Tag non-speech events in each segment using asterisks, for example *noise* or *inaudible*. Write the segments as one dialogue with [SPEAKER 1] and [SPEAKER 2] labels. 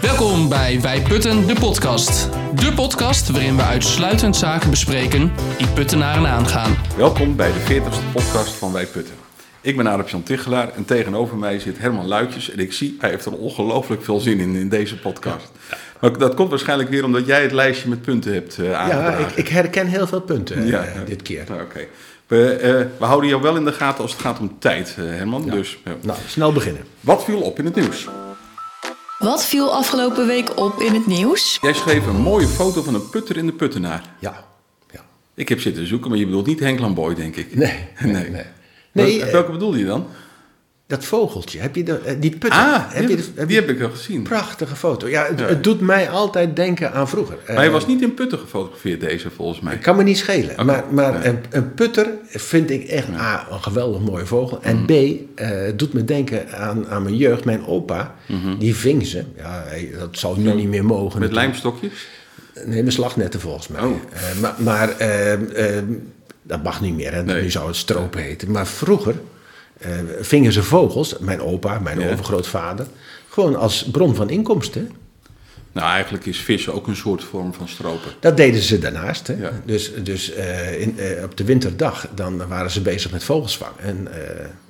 [SPEAKER 1] welkom bij Wij Putten, de podcast. De podcast waarin we uitsluitend zaken bespreken die puttenaren aangaan.
[SPEAKER 2] Welkom bij de 40ste podcast van Wij Putten. Ik ben Arab Jan Tichelaar en tegenover mij zit Herman Luitjes. En ik zie, hij heeft er ongelooflijk veel zin in, in deze podcast. Maar dat komt waarschijnlijk weer omdat jij het lijstje met punten hebt eh
[SPEAKER 3] Ja,
[SPEAKER 2] aangedragen.
[SPEAKER 3] ik, ik herken heel veel punten eh,
[SPEAKER 2] Ja,
[SPEAKER 3] eh,
[SPEAKER 2] ja.
[SPEAKER 3] dit keer.
[SPEAKER 2] Nou, Oké. We, eh, we houden jou wel in de gaten als het gaat om tijd, eh, Herman. Dus, ja.
[SPEAKER 3] Nou, snel beginnen.
[SPEAKER 2] Wat viel op in het nieuws?
[SPEAKER 4] Wat viel afgelopen week op in het nieuws?
[SPEAKER 2] Jij schreef een mooie foto van een putter in de puttenaar.
[SPEAKER 3] Ja. ja.
[SPEAKER 2] Ik heb zitten zoeken, maar je bedoelt niet Henk Lamboy, denk ik.
[SPEAKER 3] Nee, nee,
[SPEAKER 2] nee.
[SPEAKER 3] nee.
[SPEAKER 2] Nee,
[SPEAKER 3] Nee, eh,
[SPEAKER 2] welke bedoel je dan?
[SPEAKER 3] Dat vogeltje, heb je dat, eh, die putten?
[SPEAKER 2] Ah,
[SPEAKER 3] heb
[SPEAKER 2] die,
[SPEAKER 3] je, de- heb
[SPEAKER 2] die
[SPEAKER 3] je-
[SPEAKER 2] heb ik al gezien.
[SPEAKER 3] prachtige foto. Ja, het,
[SPEAKER 2] Ja.
[SPEAKER 3] het doet mij altijd denken aan vroeger. Eh,
[SPEAKER 2] Maar hij was niet in putten gefotografeerd, deze volgens mij.
[SPEAKER 3] Kan me niet schelen. Maar, maar
[SPEAKER 2] nee.
[SPEAKER 3] een, een putter vind ik echt A, een geweldig mooie vogel. En
[SPEAKER 2] Mhm.
[SPEAKER 3] B, eh, het doet me denken aan, aan mijn jeugd. Mijn opa, die ving ze. Ja, hij- dat zou nu niet meer mogen.
[SPEAKER 2] Mhm. Met
[SPEAKER 3] natuurlijk.
[SPEAKER 2] lijmstokjes?
[SPEAKER 3] Nee, met slagnetten volgens mij.
[SPEAKER 2] Oh.
[SPEAKER 3] Eh, maar maar eh, eh, dat mag niet meer. Hè?
[SPEAKER 2] Nee.
[SPEAKER 3] Nu zou het stropen heten. Maar vroeger eh, vingen ze vogels, mijn opa, mijn
[SPEAKER 2] Ja.
[SPEAKER 3] overgrootvader, gewoon als bron van inkomsten.
[SPEAKER 2] Nou, eigenlijk is vissen ook een soort vorm van stropen.
[SPEAKER 3] Dat deden ze daarnaast. Hè?
[SPEAKER 2] Ja.
[SPEAKER 3] Dus, dus eh, in, eh, op de winterdag dan waren ze bezig met vogelsvang. En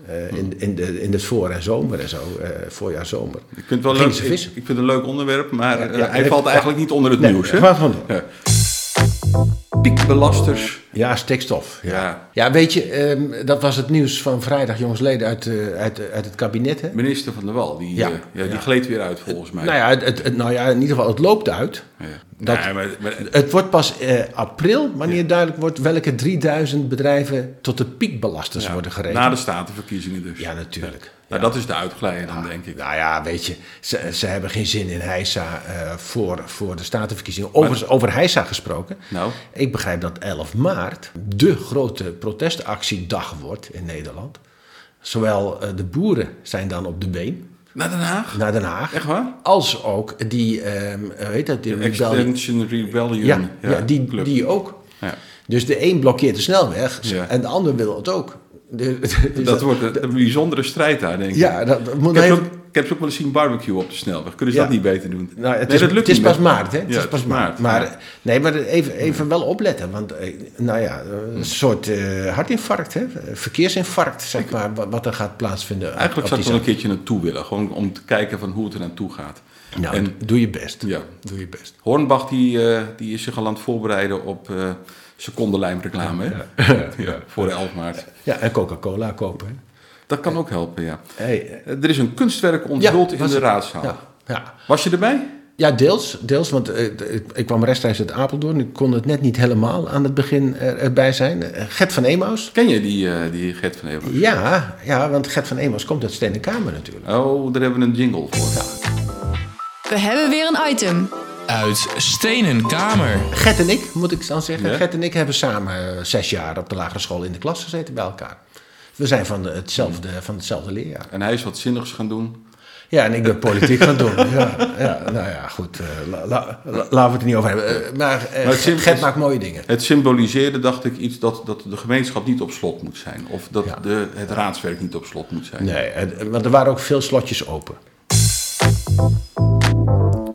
[SPEAKER 3] eh, eh, in, in, de, in het voor- en zomer en zo, eh, voorjaar, zomer.
[SPEAKER 2] Ik vind het wel
[SPEAKER 3] Gingen
[SPEAKER 2] leuk.
[SPEAKER 3] ze
[SPEAKER 2] Ik, ik
[SPEAKER 3] vissen.
[SPEAKER 2] vind het een leuk onderwerp, maar eh,
[SPEAKER 3] ja,
[SPEAKER 2] hij
[SPEAKER 3] ik-
[SPEAKER 2] valt eigenlijk niet onder het
[SPEAKER 3] Nee,
[SPEAKER 2] nieuws. Hè?
[SPEAKER 3] ga gewoon door.
[SPEAKER 2] Ja. Piekbelasters.
[SPEAKER 3] Ja, stikstof. Ja,
[SPEAKER 2] Ja.
[SPEAKER 3] ja. weet je, ehm, dat was het nieuws van vrijdag, jongensleden, uit, eh, uit, uit het kabinet. Hè?
[SPEAKER 2] Minister van der Wal, die,
[SPEAKER 3] Ja.
[SPEAKER 2] eh, ja, die
[SPEAKER 3] Ja.
[SPEAKER 2] gleed weer uit volgens mij.
[SPEAKER 3] Nou ja, het, het- het- nou ja, in ieder geval, het loopt uit.
[SPEAKER 2] Ja.
[SPEAKER 3] dat-
[SPEAKER 2] Nee, maar, maar-
[SPEAKER 3] Het wordt pas eh, april wanneer duidelijk wordt welke 3000 bedrijven tot de piekbelasters
[SPEAKER 2] ja, Nou,
[SPEAKER 3] worden gerekend.
[SPEAKER 2] na de statenverkiezingen dus.
[SPEAKER 3] Ja, natuurlijk.
[SPEAKER 2] Nou, dat is de uitglijder dan, denk ik.
[SPEAKER 3] Nou ja, weet je, ze, ze hebben geen zin in Heisa eh, voor, voor de statenverkiezingen. Overigens, over Heisa gesproken.
[SPEAKER 2] Nou.
[SPEAKER 3] Ik begrijp dat 11 maart de grote protestactiedag wordt in Nederland. Zowel eh, de boeren zijn dan op de been
[SPEAKER 2] Naar Den Haag?
[SPEAKER 3] naar Den Haag.
[SPEAKER 2] Echt waar?
[SPEAKER 3] Als ook die, ehm eh, weet dat, die rebellie-
[SPEAKER 2] Extinction Rebellion.
[SPEAKER 3] Ja, ja, die,
[SPEAKER 2] club.
[SPEAKER 3] die ook.
[SPEAKER 2] Ja.
[SPEAKER 3] Dus de een blokkeert de snelweg
[SPEAKER 2] Ja.
[SPEAKER 3] en de ander wil het ook. De- dus
[SPEAKER 2] Dat wordt een, een bijzondere strijd daar, denk ik.
[SPEAKER 3] Ja, dat moet
[SPEAKER 2] Ik heb,
[SPEAKER 3] even-
[SPEAKER 2] ze ook, ik heb ze ook wel eens zien barbecue op de snelweg. Kunnen ze
[SPEAKER 3] Ja.
[SPEAKER 2] dat niet beter doen?
[SPEAKER 3] Nou, het
[SPEAKER 2] Nee,
[SPEAKER 3] is,
[SPEAKER 2] dat lukt
[SPEAKER 3] het is
[SPEAKER 2] niet
[SPEAKER 3] pas
[SPEAKER 2] meer.
[SPEAKER 3] maart, hè? Het
[SPEAKER 2] Ja,
[SPEAKER 3] is pas maart. Maar,
[SPEAKER 2] ja.
[SPEAKER 3] nee, maar even, even wel opletten. Want, eh, nou ja,
[SPEAKER 2] Hm.
[SPEAKER 3] een soort eh, hartinfarct, hè? Verkeersinfarct, zeg maar, wat, wat er gaat plaatsvinden. op-
[SPEAKER 2] Eigenlijk
[SPEAKER 3] op
[SPEAKER 2] zou ik
[SPEAKER 3] die
[SPEAKER 2] wel een keertje naartoe willen. Gewoon om te kijken van hoe het er naartoe gaat.
[SPEAKER 3] zaak. Nou,
[SPEAKER 2] en
[SPEAKER 3] doe je best.
[SPEAKER 2] ja,
[SPEAKER 3] Doe je best.
[SPEAKER 2] Hornbach die, eh, die is zich al aan het voorbereiden op eh secondenlijmreclame. hè? *laughs* Ja, voor 11 maart.
[SPEAKER 3] Ja, en Coca-Cola kopen, hè?
[SPEAKER 2] Dat kan ook helpen, ja.
[SPEAKER 3] Hey, eh,
[SPEAKER 2] Eh, Er is een kunstwerk onthuld in
[SPEAKER 3] was
[SPEAKER 2] de
[SPEAKER 3] het.
[SPEAKER 2] raadzaal.
[SPEAKER 3] ja, ja.
[SPEAKER 2] Was je erbij?
[SPEAKER 3] Ja, deels. deels want eh, d- ik, ik kwam rechtstreeks uit Apeldoorn. Ik kon het net niet helemaal aan het begin eh, erbij zijn. Eh, Gert van Emaus.
[SPEAKER 2] Ken je die, eh, die Gert van Eeuwen?
[SPEAKER 3] Ja, ja, want Gert van Emaus komt uit Stenenkamer natuurlijk.
[SPEAKER 2] Oh, daar hebben we een jingle voor.
[SPEAKER 4] We hebben weer een item.
[SPEAKER 1] Uit Stenen Kamer.
[SPEAKER 3] Gert en ik, moet ik dan zeggen.
[SPEAKER 2] Ja.
[SPEAKER 3] Gert en ik hebben samen eh, zes jaar op de lagere school in de klas gezeten bij elkaar. We zijn van, de- hetzelfde,
[SPEAKER 2] Mm.
[SPEAKER 3] van hetzelfde leerjaar.
[SPEAKER 2] En hij is wat zinnigs gaan doen.
[SPEAKER 3] Ja, en ik ben politiek gaan doen. Ja, ja, nou ja, goed. eh, la- la- la- laten we het er niet over hebben. Eh, maar eh,
[SPEAKER 2] Maar het
[SPEAKER 3] Gert,
[SPEAKER 2] is-
[SPEAKER 3] Gert maakt mooie dingen.
[SPEAKER 2] Het symboliseerde, dacht ik, iets dat, dat de gemeenschap niet op slot moet zijn. Of dat
[SPEAKER 3] Ja.
[SPEAKER 2] de, het raadswerk niet op slot moet zijn.
[SPEAKER 3] Nee, eh, want er waren ook veel slotjes open.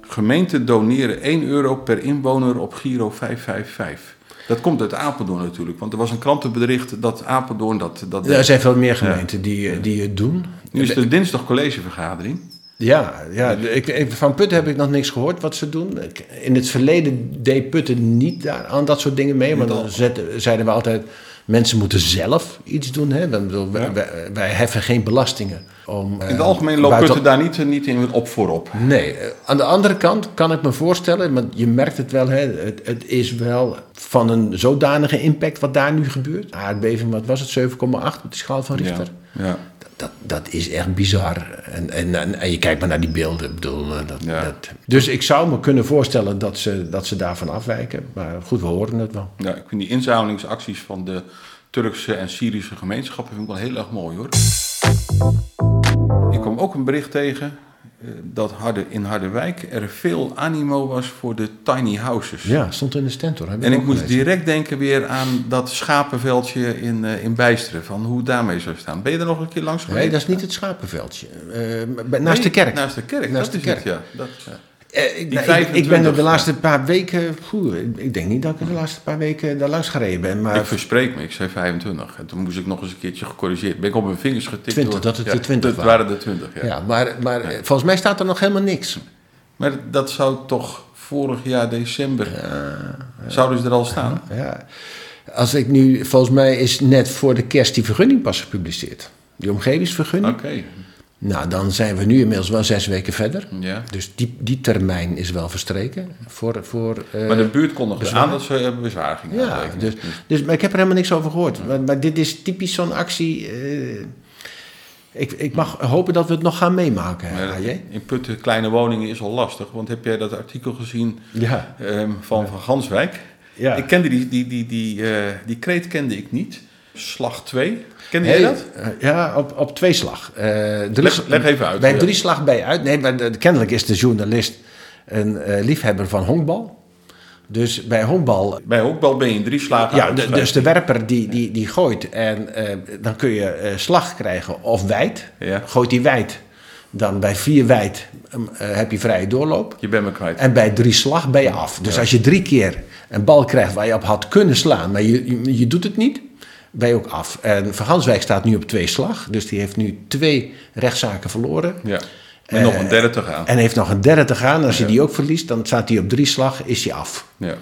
[SPEAKER 2] Gemeenten doneren 1 euro per inwoner op Giro 555. Dat komt uit Apeldoorn natuurlijk, want er was een krantenbericht dat Apeldoorn dat. dat
[SPEAKER 3] Er zijn veel meer gemeenten die, eh, die het doen.
[SPEAKER 2] Nu is het de dinsdag collegevergadering.
[SPEAKER 3] Ja, ja ik, ik- van Putten heb ik nog niks gehoord wat ze doen. Ik- In het verleden deed Putten niet daar- aan dat soort dingen mee. Maar dan zetten- zeiden we altijd, mensen moeten zelf iets doen. Hè? Dan bedoel, wij, wij- wij heffen geen belastingen. Om, eh,
[SPEAKER 2] In het algemeen loopt Putten daar niet, niet in op voorop.
[SPEAKER 3] Nee, eh, aan de andere kant kan ik me voorstellen, want je merkt het wel, hè, het, het is wel van een zodanige impact wat daar nu gebeurt. Aardbeving, wat was het, 7,8 op de schaal van Richter?
[SPEAKER 2] Ja. ja.
[SPEAKER 3] Dat, dat is echt bizar. En, en, en, en je kijkt maar naar die beelden. Ik bedoel, eh, dat,
[SPEAKER 2] Ja.
[SPEAKER 3] dat. Dus ik zou me kunnen voorstellen dat ze, dat ze daarvan afwijken. Maar goed, we horen het wel.
[SPEAKER 2] Ja, ik vind die inzamelingsacties van de Turkse en Syrische gemeenschappen vind ik wel heel erg mooi hoor. Ik kwam ook een bericht tegen eh, dat Harde, in Harderwijk er veel animo was voor de tiny houses.
[SPEAKER 3] Ja, stond in de stand hoor. Heb
[SPEAKER 2] En ik
[SPEAKER 3] ook
[SPEAKER 2] moest
[SPEAKER 3] gelezen.
[SPEAKER 2] direct denken weer aan dat schapenveldje in, eh, in Bijsteren, van hoe het daarmee zou staan. Ben je er nog een keer langs geweest?
[SPEAKER 3] Nee, dat is niet het schapenveldje. Eh, bij- naast
[SPEAKER 2] Nee,
[SPEAKER 3] de kerk.
[SPEAKER 2] Naast de kerk,
[SPEAKER 3] Naast
[SPEAKER 2] dat
[SPEAKER 3] de
[SPEAKER 2] is
[SPEAKER 3] kerk.
[SPEAKER 2] het, ja. Dat, ja.
[SPEAKER 3] Eh, ik,
[SPEAKER 2] Die
[SPEAKER 3] nou, ik- ik ben er
[SPEAKER 2] 25,
[SPEAKER 3] de laatste paar weken. poeh, ik- ik denk niet dat ik er de laatste paar weken daar langs gereden ben. Maar
[SPEAKER 2] Ik verspreek me, ik zei 25. En toen moest ik nog eens een keertje gecorrigeerd. Ben ik op mijn vingers getikt.
[SPEAKER 3] 20,
[SPEAKER 2] door-
[SPEAKER 3] dat het
[SPEAKER 2] Ja,
[SPEAKER 3] de 20
[SPEAKER 2] Dat
[SPEAKER 3] waren.
[SPEAKER 2] waren de 20, ja.
[SPEAKER 3] Ja, maar, maar eh, volgens mij staat er nog helemaal niks.
[SPEAKER 2] Maar dat zou toch vorig jaar december... Zouden ze er al staan?
[SPEAKER 3] Ja. Als ik nu, volgens mij is net voor de kerst die vergunning pas gepubliceerd. Die omgevingsvergunning.
[SPEAKER 2] Oké,
[SPEAKER 3] Nou, dan zijn we nu inmiddels wel zes weken verder.
[SPEAKER 2] ja.
[SPEAKER 3] Dus die, die termijn is wel verstreken. Voor, voor, eh,
[SPEAKER 2] Maar de buurt kondigde aan dat ze eh, bezwaar gingen
[SPEAKER 3] ja,
[SPEAKER 2] aantekenen.
[SPEAKER 3] dus, dus, maar ik heb er helemaal niks over gehoord. Maar, maar dit is typisch zo'n actie. eh, ik, ik mag hopen dat we het nog gaan meemaken.
[SPEAKER 2] Maar dat-
[SPEAKER 3] AJ.
[SPEAKER 2] in Putten kleine woningen is al lastig. Want heb jij dat artikel gezien
[SPEAKER 3] Ja.
[SPEAKER 2] ehm, van Van Ganswijk?
[SPEAKER 3] Ja.
[SPEAKER 2] Ik kende die, die, die, die, eh, die kreet kende ik niet. Slag 2. Kende jij
[SPEAKER 3] Nee,
[SPEAKER 2] dat?
[SPEAKER 3] eh, Ja, op, op twee slag. Eh, drie-
[SPEAKER 2] Leg- leg even uit,
[SPEAKER 3] Bij
[SPEAKER 2] ja.
[SPEAKER 3] drie slag bij uit. Nee, maar de- kennelijk is de journalist een eh, liefhebber van honkbal. Dus bij honkbal
[SPEAKER 2] Bij hoekbal ben je in drie slagen
[SPEAKER 3] Ja,
[SPEAKER 2] uit
[SPEAKER 3] de-
[SPEAKER 2] het
[SPEAKER 3] dus de werper die, die, die gooit en eh, dan kun je eh, slag krijgen of wijd.
[SPEAKER 2] Ja.
[SPEAKER 3] Gooit hij wijd, dan bij vier wijd ehm, eh, heb je vrije doorloop.
[SPEAKER 2] Je bent me kwijt.
[SPEAKER 3] En bij drie slag ben je af. Dus als je drie keer een bal krijgt waar je op had kunnen slaan, maar je, je, je doet het niet, ben je ook af. En Van Ganswijk staat nu op twee slag, dus die heeft nu twee rechtszaken verloren.
[SPEAKER 2] ja. Met nog een derde te gaan.
[SPEAKER 3] En heeft nog een derde te gaan. Als je die ook verliest, dan staat hij op drie slag, is hij af.
[SPEAKER 2] ja.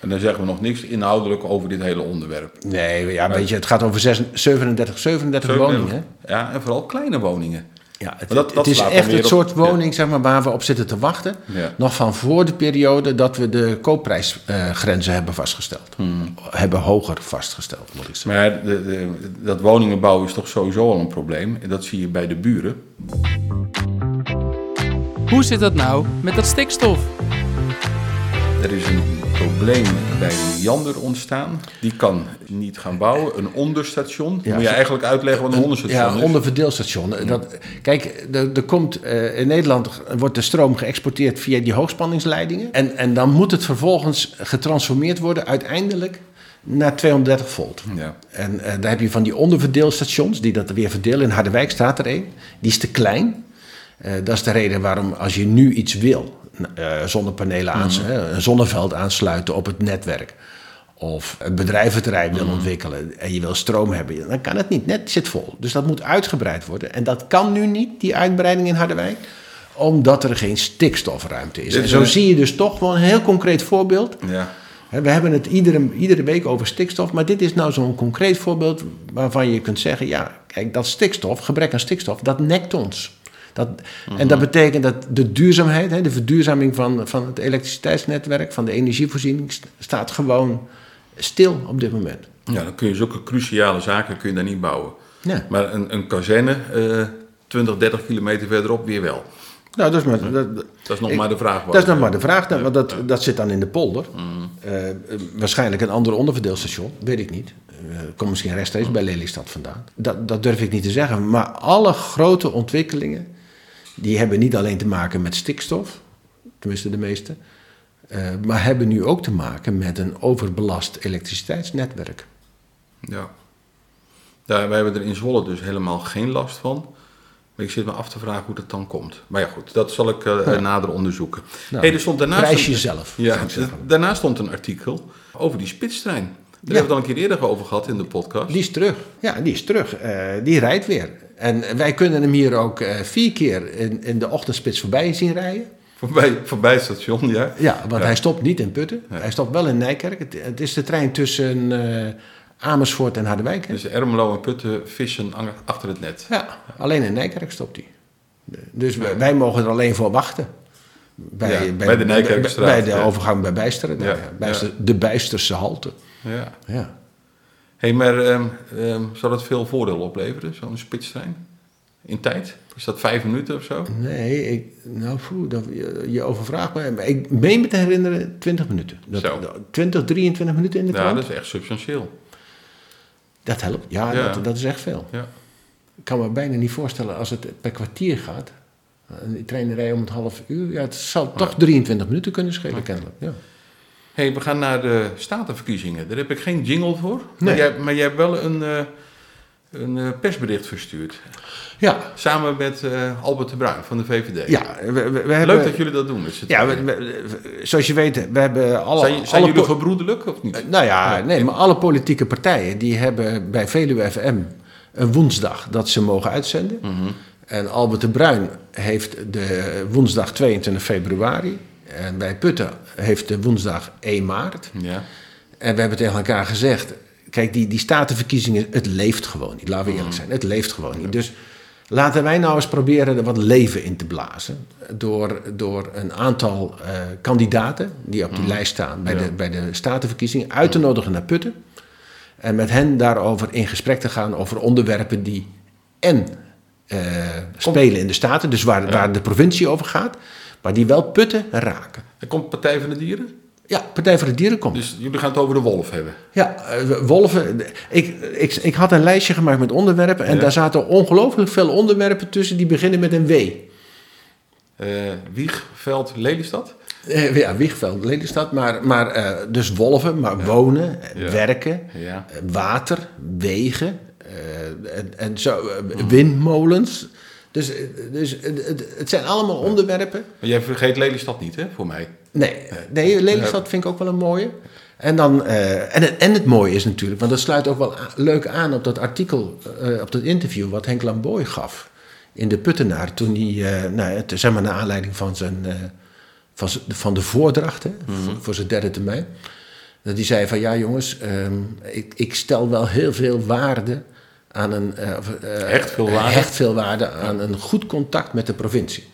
[SPEAKER 2] en dan zeggen we nog niks inhoudelijk over dit hele onderwerp.
[SPEAKER 3] Nee, ja, weet je, het gaat over zes- 37, 37 woningen.
[SPEAKER 2] Ja, en vooral kleine woningen.
[SPEAKER 3] Ja,
[SPEAKER 2] Maar
[SPEAKER 3] het,
[SPEAKER 2] dat- dat
[SPEAKER 3] het is
[SPEAKER 2] slaat dan
[SPEAKER 3] echt
[SPEAKER 2] weer
[SPEAKER 3] het
[SPEAKER 2] op-
[SPEAKER 3] soort
[SPEAKER 2] ja.
[SPEAKER 3] woning zeg maar, waar we op zitten te wachten.
[SPEAKER 2] Ja.
[SPEAKER 3] Nog van voor de periode dat we de koopprijsgrenzen hebben vastgesteld.
[SPEAKER 2] Hmm.
[SPEAKER 3] Hebben hoger vastgesteld, moet ik zeggen.
[SPEAKER 2] Maar de, de- dat woningenbouw is toch sowieso al een probleem. En dat zie je bij de buren.
[SPEAKER 1] Hoe zit dat nou met dat stikstof?
[SPEAKER 2] Er is een probleem bij Jander ontstaan. Die kan niet gaan bouwen. Een onderstation.
[SPEAKER 3] Ja,
[SPEAKER 2] Moet je
[SPEAKER 3] zo-
[SPEAKER 2] eigenlijk uitleggen wat een onderstation
[SPEAKER 3] Ja,
[SPEAKER 2] is?
[SPEAKER 3] onderverdeelstation. Dat, kijk, er, er komt, eh, in Nederland wordt de stroom geëxporteerd via die hoogspanningsleidingen. En, en dan moet het vervolgens getransformeerd worden uiteindelijk naar 230 volt.
[SPEAKER 2] Ja.
[SPEAKER 3] En eh, daar heb je van die onderverdeelstations die dat weer verdelen. In Harderwijk staat er één. Die is te klein. Eh, dat is de reden waarom als je nu iets wil, eh, zonnepanelen
[SPEAKER 2] Mhm.
[SPEAKER 3] aans- eh, een zonneveld aansluiten op het netwerk. Of een bedrijventerrein
[SPEAKER 2] Mhm.
[SPEAKER 3] wil ontwikkelen en je wil stroom hebben, dan kan het niet. Net zit vol. Dus dat moet uitgebreid worden. En dat kan nu niet, die uitbreiding in Harderwijk, omdat er geen stikstofruimte is.
[SPEAKER 2] Dit
[SPEAKER 3] En
[SPEAKER 2] is
[SPEAKER 3] zo
[SPEAKER 2] een-
[SPEAKER 3] zie je dus toch wel een heel concreet voorbeeld
[SPEAKER 2] Ja.
[SPEAKER 3] Hè, We hebben het iedere, iedere week over stikstof, maar dit is nou zo'n concreet voorbeeld waarvan je kunt zeggen: ja, kijk, dat stikstof, gebrek aan stikstof, dat nekt ons. Dat, En dat betekent dat de duurzaamheid, hè, de verduurzaming van, van het elektriciteitsnetwerk, van de energievoorziening, st- staat gewoon stil op dit moment.
[SPEAKER 2] ja, dan kun je zulke cruciale zaken kun je daar niet bouwen.
[SPEAKER 3] Ja.
[SPEAKER 2] Maar een, een kazerne eh 20, 30 kilometer verderop weer wel.
[SPEAKER 3] Nou, dat is maar, dat,
[SPEAKER 2] Dat is nog
[SPEAKER 3] Ik-
[SPEAKER 2] maar de vraag. wat-
[SPEAKER 3] dat is nog maar de vraag, dan, want dat, dat zit dan in de polder. Eh, eh, waarschijnlijk een ander onderverdeelstation, weet ik niet. Eh komt misschien rechtstreeks bij Lelystad vandaan. Dat, dat durf ik niet te zeggen. Maar alle grote ontwikkelingen, die hebben niet alleen te maken met stikstof, tenminste de meeste, eh, maar hebben nu ook te maken met een overbelast elektriciteitsnetwerk.
[SPEAKER 2] Ja. Daar, wij hebben er in Zwolle dus helemaal geen last van. Maar ik zit me af te vragen hoe dat dan komt. Maar ja, goed, dat zal ik eh, nader onderzoeken.
[SPEAKER 3] Nou,
[SPEAKER 2] hey, er stond daarnaast
[SPEAKER 3] prijs
[SPEAKER 2] een-
[SPEAKER 3] jezelf,
[SPEAKER 2] Ja,
[SPEAKER 3] zou ik zeggen.
[SPEAKER 2] daarnaast stond een artikel over die spitstrein. Daar hebben we het al een keer eerder over gehad in de podcast.
[SPEAKER 3] Die is terug. Ja, die is terug. Eh, die rijdt weer. En wij kunnen hem hier ook eh, vier keer in, in de ochtendspits voorbij zien rijden.
[SPEAKER 2] Voorbij, voorbij het station, ja.
[SPEAKER 3] Ja, want hij stopt niet in Putten. Hij stopt wel in Nijkerk. Het, het is de trein tussen eh, Amersfoort en Harderwijk. hè?
[SPEAKER 2] Dus Ermelo en Putten vissen ang- achter het net.
[SPEAKER 3] Ja, alleen in Nijkerk stopt hij. Dus wij, wij mogen er alleen voor wachten.
[SPEAKER 2] Ja, bij de Nijkerkstraat,
[SPEAKER 3] Bij de
[SPEAKER 2] ja.
[SPEAKER 3] overgang bij Bijsteren. daar,
[SPEAKER 2] Ja,
[SPEAKER 3] ja. Bijster- De Bijsterse halte.
[SPEAKER 2] Ja.
[SPEAKER 3] Ja.
[SPEAKER 2] hey, maar ehm, ehm, zou dat veel voordeel opleveren, zo'n spitstrein? In tijd? Is dat vijf minuten of zo?
[SPEAKER 3] Nee, ik, nou, poeh, dat, je, je overvraagt me. Maar ik meen me te herinneren 20 minuten. Dat,
[SPEAKER 2] Zo.
[SPEAKER 3] dat- 20, 23 minuten in de
[SPEAKER 2] Ja,
[SPEAKER 3] krant.
[SPEAKER 2] dat is echt substantieel.
[SPEAKER 3] Dat helpt. Ja,
[SPEAKER 2] Ja.
[SPEAKER 3] Dat, dat is echt veel.
[SPEAKER 2] Ja.
[SPEAKER 3] Ik kan me bijna niet voorstellen als het per kwartier gaat. En Die treinen rijden om het half uur. Ja, het zou toch 23 minuten kunnen schelen, kennelijk. Ja.
[SPEAKER 2] Hé, hey, we gaan naar de statenverkiezingen. Daar heb ik geen jingle voor. Maar,
[SPEAKER 3] Nee.
[SPEAKER 2] jij, maar jij hebt wel een, eh, een eh, persbericht verstuurd.
[SPEAKER 3] Ja,
[SPEAKER 2] Samen met eh, Albert de Bruin van de VVD.
[SPEAKER 3] ja we, we- we hebben...
[SPEAKER 2] Leuk dat jullie dat doen. met z'n
[SPEAKER 3] Ja,
[SPEAKER 2] tweeën.
[SPEAKER 3] we- we- we- zoals je weet, we hebben alle...
[SPEAKER 2] zijn zijn
[SPEAKER 3] alle
[SPEAKER 2] jullie
[SPEAKER 3] po-
[SPEAKER 2] gebroedelijk of niet?
[SPEAKER 3] Nou ja, nee, maar alle politieke partijen die hebben bij Veluwe FM een woensdag dat ze mogen uitzenden.
[SPEAKER 2] Mhm.
[SPEAKER 3] En Albert de Bruin heeft de woensdag 22 februari. En bij Putten heeft de woensdag 1 maart.
[SPEAKER 2] Ja.
[SPEAKER 3] En we hebben tegen elkaar gezegd: kijk, die, die statenverkiezingen, het leeft gewoon niet. Laten we eerlijk zijn, het leeft gewoon niet. Dus laten wij nou eens proberen er wat leven in te blazen. Door, door een aantal eh, kandidaten die op die lijst staan bij, de, bij de statenverkiezingen uit te nodigen naar Putten. En met hen daarover in gesprek te gaan over onderwerpen die en eh, spelen in de staten, dus waar, waar de provincie over gaat, maar die wel Putten raken.
[SPEAKER 2] Er komt Partij van de Dieren.
[SPEAKER 3] Ja, Partij voor de Dieren komt.
[SPEAKER 2] Dus jullie gaan het over de wolf hebben.
[SPEAKER 3] Ja, eh, wolven. Ik, ik, ik had een lijstje gemaakt met onderwerpen. En
[SPEAKER 2] Ja.
[SPEAKER 3] daar zaten ongelooflijk veel onderwerpen tussen die beginnen met een W.
[SPEAKER 2] Eh Wiegveld, Lelystad.
[SPEAKER 3] Eh, ja, Wiegveld, Lelystad. Maar, maar eh, dus wolven, maar wonen, eh,
[SPEAKER 2] Ja.
[SPEAKER 3] werken,
[SPEAKER 2] Ja.
[SPEAKER 3] eh, water, wegen. eh, en, en zo, eh, windmolens. Dus, eh, dus het, het- het zijn allemaal onderwerpen.
[SPEAKER 2] Maar jij vergeet Lelystad niet, hè, voor mij.
[SPEAKER 3] Nee, nee, Lelystad vind ik ook wel een mooie. En, dan, eh, en, het- en het mooie is natuurlijk, want dat sluit ook wel a- leuk aan op dat artikel, eh, op dat interview wat Henk Lamboy gaf in de Puttenaar. Toen hij, eh, nou, het, zeg maar naar aanleiding van, zijn, eh, van, z- van de voordrachten
[SPEAKER 2] Mhm.
[SPEAKER 3] voor, voor zijn derde termijn. Dat hij zei van ja jongens, ehm, ik, ik stel wel heel veel waarde aan een... eh, of, eh,
[SPEAKER 2] Hecht veel waarde. Mhm.
[SPEAKER 3] Hecht veel waarde aan een goed contact met de provincie.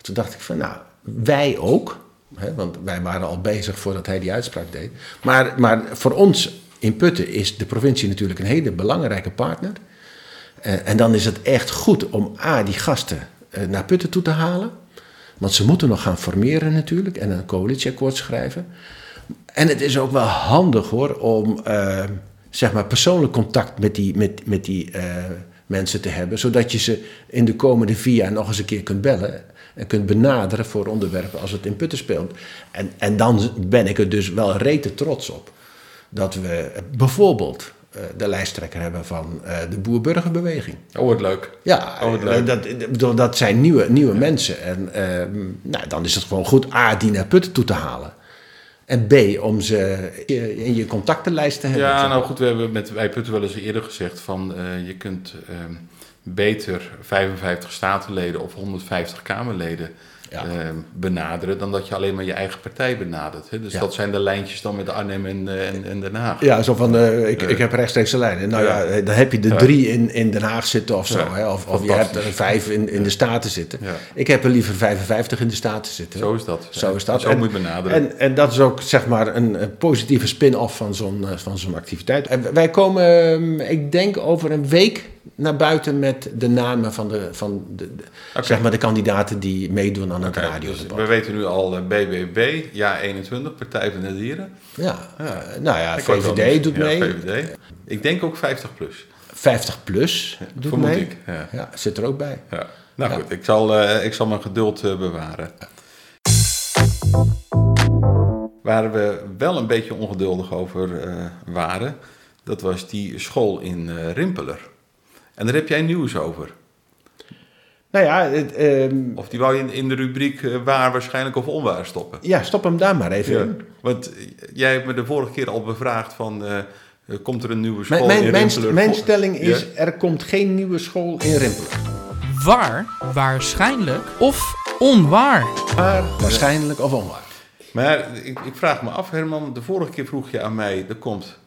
[SPEAKER 3] Toen dacht ik van nou, wij ook. Hè, want wij waren al bezig voordat hij die uitspraak deed. Maar, maar voor ons in Putten is de provincie natuurlijk een hele belangrijke partner. Eh, en dan is het echt goed om A, die gasten eh, naar Putten toe te halen. Want ze moeten nog gaan formeren natuurlijk en een coalitieakkoord schrijven. En het is ook wel handig hoor om eh, zeg maar persoonlijk contact met die, met, met die eh, mensen te hebben. Zodat je ze in de komende vier jaar nog eens een keer kunt bellen. En kunt benaderen voor onderwerpen als het in Putten speelt. En, en dan ben ik er dus wel rete trots op. Dat we bijvoorbeeld eh, de lijsttrekker hebben van eh, de boer-burgerbeweging.
[SPEAKER 2] Oh, wat leuk.
[SPEAKER 3] Ja,
[SPEAKER 2] Oh, wat leuk.
[SPEAKER 3] dat, ik bedoel, dat zijn nieuwe, nieuwe mensen. En ehm, nou, dan is het gewoon goed A, die naar Putten toe te halen. En B, om ze in je contactenlijst te hebben.
[SPEAKER 2] Ja, nou goed, we hebben met Wij Putten wel eens eerder gezegd van eh, je kunt ehm, beter 55 statenleden of 150 Kamerleden
[SPEAKER 3] Ja.
[SPEAKER 2] ehm, benaderen dan dat je alleen maar je eigen partij benadert. Hè? Dus
[SPEAKER 3] Ja.
[SPEAKER 2] dat zijn de lijntjes dan met Arnhem en, eh, en, en Den Haag.
[SPEAKER 3] Ja, zo van, eh, ik, ik heb rechtstreeks een lijn. Nou ja, dan heb je de drie in, in Den Haag zitten of zo.
[SPEAKER 2] Ja,
[SPEAKER 3] Hè? Of, of je hebt er vijf in, in de Staten zitten.
[SPEAKER 2] Ja.
[SPEAKER 3] Ik heb er liever 55 in de Staten zitten.
[SPEAKER 2] Zo is dat.
[SPEAKER 3] Zo is dat.
[SPEAKER 2] Zo
[SPEAKER 3] En-
[SPEAKER 2] moet je benaderen.
[SPEAKER 3] En, en dat is ook zeg maar een eh, positieve spin-off van zo'n eh, van zo'n activiteit. En wij komen, ehm, ik denk, over een week naar buiten met de namen van de, van de, de-
[SPEAKER 2] Oké.
[SPEAKER 3] zeg maar de kandidaten die meedoen aan het
[SPEAKER 2] Oké, dus
[SPEAKER 3] radiodebat.
[SPEAKER 2] we weten nu al eh, BBB, Ja 21, Partij van de Dieren.
[SPEAKER 3] Ja, eh, nou ja,
[SPEAKER 2] Ik word wel
[SPEAKER 3] VVD
[SPEAKER 2] dus-
[SPEAKER 3] doet
[SPEAKER 2] ja,
[SPEAKER 3] mee.
[SPEAKER 2] VVD. Ik denk ook 50 plus.
[SPEAKER 3] 50 plus doet
[SPEAKER 2] vermoed
[SPEAKER 3] mee.
[SPEAKER 2] ik, ja.
[SPEAKER 3] zit er ook bij.
[SPEAKER 2] Ja. Nou
[SPEAKER 3] Ja.
[SPEAKER 2] goed, ik zal, eh, ik zal mijn geduld eh, bewaren. Waar we wel een beetje ongeduldig over eh, waren, dat was die school in eh, Rimpeler. En daar heb jij nieuws over.
[SPEAKER 3] Nou ja, het, ehm,
[SPEAKER 2] Of die wou je in, in de rubriek eh, waar waarschijnlijk of onwaar stoppen.
[SPEAKER 3] ja, stop hem daar maar even
[SPEAKER 2] Ja.
[SPEAKER 3] in.
[SPEAKER 2] Want eh, jij hebt me de vorige keer al bevraagd van, eh, eh, komt er een nieuwe school
[SPEAKER 3] Mijn, mijn,
[SPEAKER 2] in
[SPEAKER 3] mijn,
[SPEAKER 2] Rimpeler?
[SPEAKER 3] mijn
[SPEAKER 2] Vol-
[SPEAKER 3] stelling
[SPEAKER 2] Ja?
[SPEAKER 3] is, er komt geen nieuwe school in Rimpelen.
[SPEAKER 1] Waar, waarschijnlijk of onwaar?
[SPEAKER 3] Maar waarschijnlijk of onwaar.
[SPEAKER 2] Maar ik, ik vraag me af, Herman, de vorige keer vroeg je aan mij, er komt...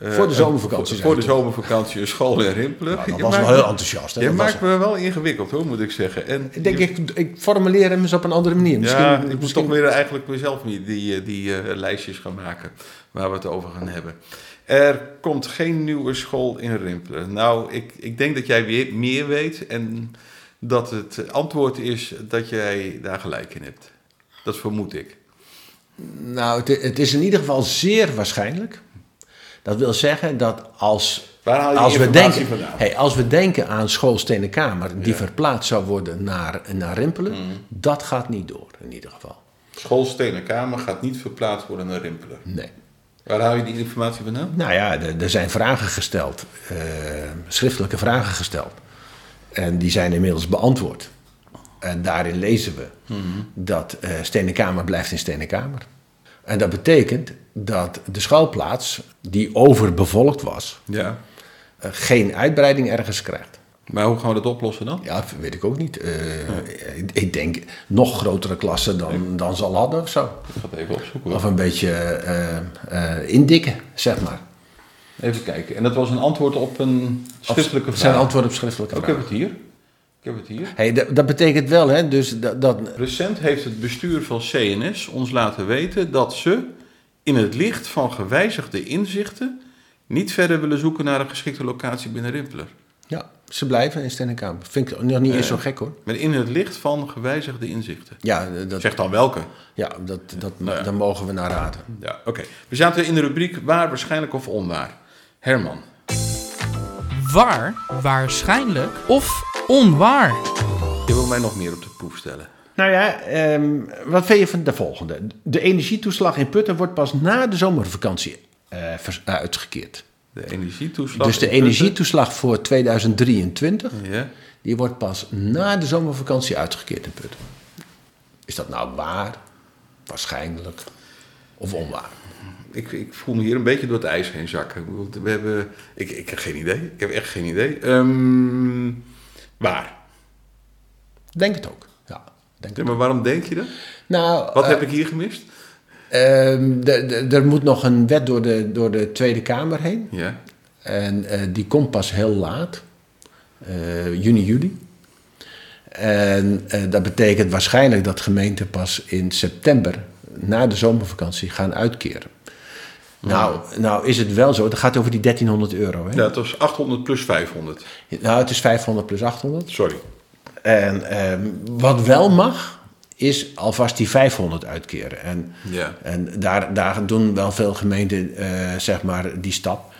[SPEAKER 2] eh,
[SPEAKER 3] Voor de zomervakantie,
[SPEAKER 2] een-
[SPEAKER 3] zei
[SPEAKER 2] Voor, de
[SPEAKER 3] je toen.
[SPEAKER 2] zomervakantie een school in Rimpelen.
[SPEAKER 3] Nou, dat
[SPEAKER 2] Je
[SPEAKER 3] was
[SPEAKER 2] maakt
[SPEAKER 3] wel heel
[SPEAKER 2] me-
[SPEAKER 3] enthousiast. Hè?
[SPEAKER 2] Je
[SPEAKER 3] Dat was
[SPEAKER 2] maakt me wel ingewikkeld, hoor, moet ik zeggen. En
[SPEAKER 3] Ik denk, ik, ik formuleer hem eens op een andere manier. Misschien,
[SPEAKER 2] ja, ik moet
[SPEAKER 3] misschien-
[SPEAKER 2] toch weer eigenlijk mezelf niet die, eh, die eh, lijstjes gaan maken waar we het over gaan hebben. Er komt geen nieuwe school in Rimpelen. Nou, ik, ik denk dat jij weer meer weet en dat het antwoord is dat jij daar gelijk in hebt. Dat vermoed ik.
[SPEAKER 3] Nou, het, het is in ieder geval zeer waarschijnlijk. Dat wil zeggen dat als,
[SPEAKER 2] Waar haal je die
[SPEAKER 3] als, we,
[SPEAKER 2] informatie
[SPEAKER 3] denken,
[SPEAKER 2] vandaan?
[SPEAKER 3] hey, als we denken aan school Stenenkamer, die verplaatst zou worden naar, naar Rimpelen,
[SPEAKER 2] Mm.
[SPEAKER 3] dat gaat niet door in ieder geval.
[SPEAKER 2] School Stenen Kamer gaat niet verplaatst worden naar Rimpelen.
[SPEAKER 3] Nee.
[SPEAKER 2] Waar haal je die informatie vandaan?
[SPEAKER 3] Nou ja, er, er zijn vragen gesteld, eh, schriftelijke vragen gesteld. En die zijn inmiddels beantwoord. En daarin lezen we dat eh Stenen Kamer blijft in Stenen Kamer. En dat betekent dat de schuilplaats, die overbevolkt was,
[SPEAKER 2] Ja.
[SPEAKER 3] eh, geen uitbreiding ergens krijgt.
[SPEAKER 2] Maar hoe gaan we dat oplossen dan?
[SPEAKER 3] Ja, weet ik ook niet. Eh, ik, ik denk nog grotere klassen dan, dan ze al hadden of zo.
[SPEAKER 2] Ik ga het even opzoeken. hoor.
[SPEAKER 3] Of een beetje eh, eh, indikken, zeg maar.
[SPEAKER 2] Even kijken. En dat was een antwoord op een schriftelijke
[SPEAKER 3] Of Zijn
[SPEAKER 2] vraag.
[SPEAKER 3] antwoorden op schriftelijke
[SPEAKER 2] Oh, ik
[SPEAKER 3] vragen.
[SPEAKER 2] heb het hier. Ik heb het hier.
[SPEAKER 3] Hey, dat, dat betekent wel, hè, dus dat, dat,
[SPEAKER 2] Recent heeft het bestuur van CNS ons laten weten dat ze in het licht van gewijzigde inzichten niet verder willen zoeken naar een geschikte locatie binnen Rimpeler.
[SPEAKER 3] ja, ze blijven in Stennenkamp. Vind ik nog niet eens zo gek hoor.
[SPEAKER 2] Maar in het licht van gewijzigde inzichten.
[SPEAKER 3] Ja, dat,
[SPEAKER 2] Zeg dan welke?
[SPEAKER 3] ja, dat, dat,
[SPEAKER 2] Nou ja.
[SPEAKER 3] daar mogen we naar raden.
[SPEAKER 2] Ja, oké. We zaten in de rubriek waar, waarschijnlijk of onwaar. Herman,
[SPEAKER 1] Waar, waarschijnlijk of onwaar?
[SPEAKER 2] je wil mij nog meer op de proef stellen.
[SPEAKER 3] Nou ja, ehm, wat vind je van de volgende? De energietoeslag in Putten wordt pas na de zomervakantie eh, vers- uitgekeerd.
[SPEAKER 2] De energietoeslag.
[SPEAKER 3] dus de
[SPEAKER 2] in Putten.
[SPEAKER 3] energietoeslag voor 2023,
[SPEAKER 2] Ja.
[SPEAKER 3] die wordt pas na de zomervakantie uitgekeerd in Putten. Is dat nou waar? Waarschijnlijk. Of onwaar?
[SPEAKER 2] Ik, ik voel me hier een beetje door het ijs heen zakken. Ik bedoel, We hebben, ik, ik heb geen idee. Ik heb echt geen idee. Ehm, waar?
[SPEAKER 3] Denk het ook. Ja, denk
[SPEAKER 2] Ja,
[SPEAKER 3] het.
[SPEAKER 2] maar waarom denk je dat?
[SPEAKER 3] Nou,
[SPEAKER 2] Wat
[SPEAKER 3] eh,
[SPEAKER 2] heb ik hier gemist?
[SPEAKER 3] Ehm, de- de- er moet nog een wet door de, door de Tweede Kamer heen.
[SPEAKER 2] Ja.
[SPEAKER 3] En eh, die komt pas heel laat. Eh, juni, juli. En eh, dat betekent waarschijnlijk dat gemeenten pas in september... na de zomervakantie gaan uitkeren. Nou, nou is het wel zo. Het gaat over die 1300 euro. Hè?
[SPEAKER 2] Ja, Nou, het was 800 plus 500.
[SPEAKER 3] Nou, het is 500 plus 800.
[SPEAKER 2] Sorry.
[SPEAKER 3] En ehm, wat wel mag, is alvast die 500 uitkeren. En,
[SPEAKER 2] Ja.
[SPEAKER 3] en daar, daar doen wel veel gemeenten eh, zeg maar die stap.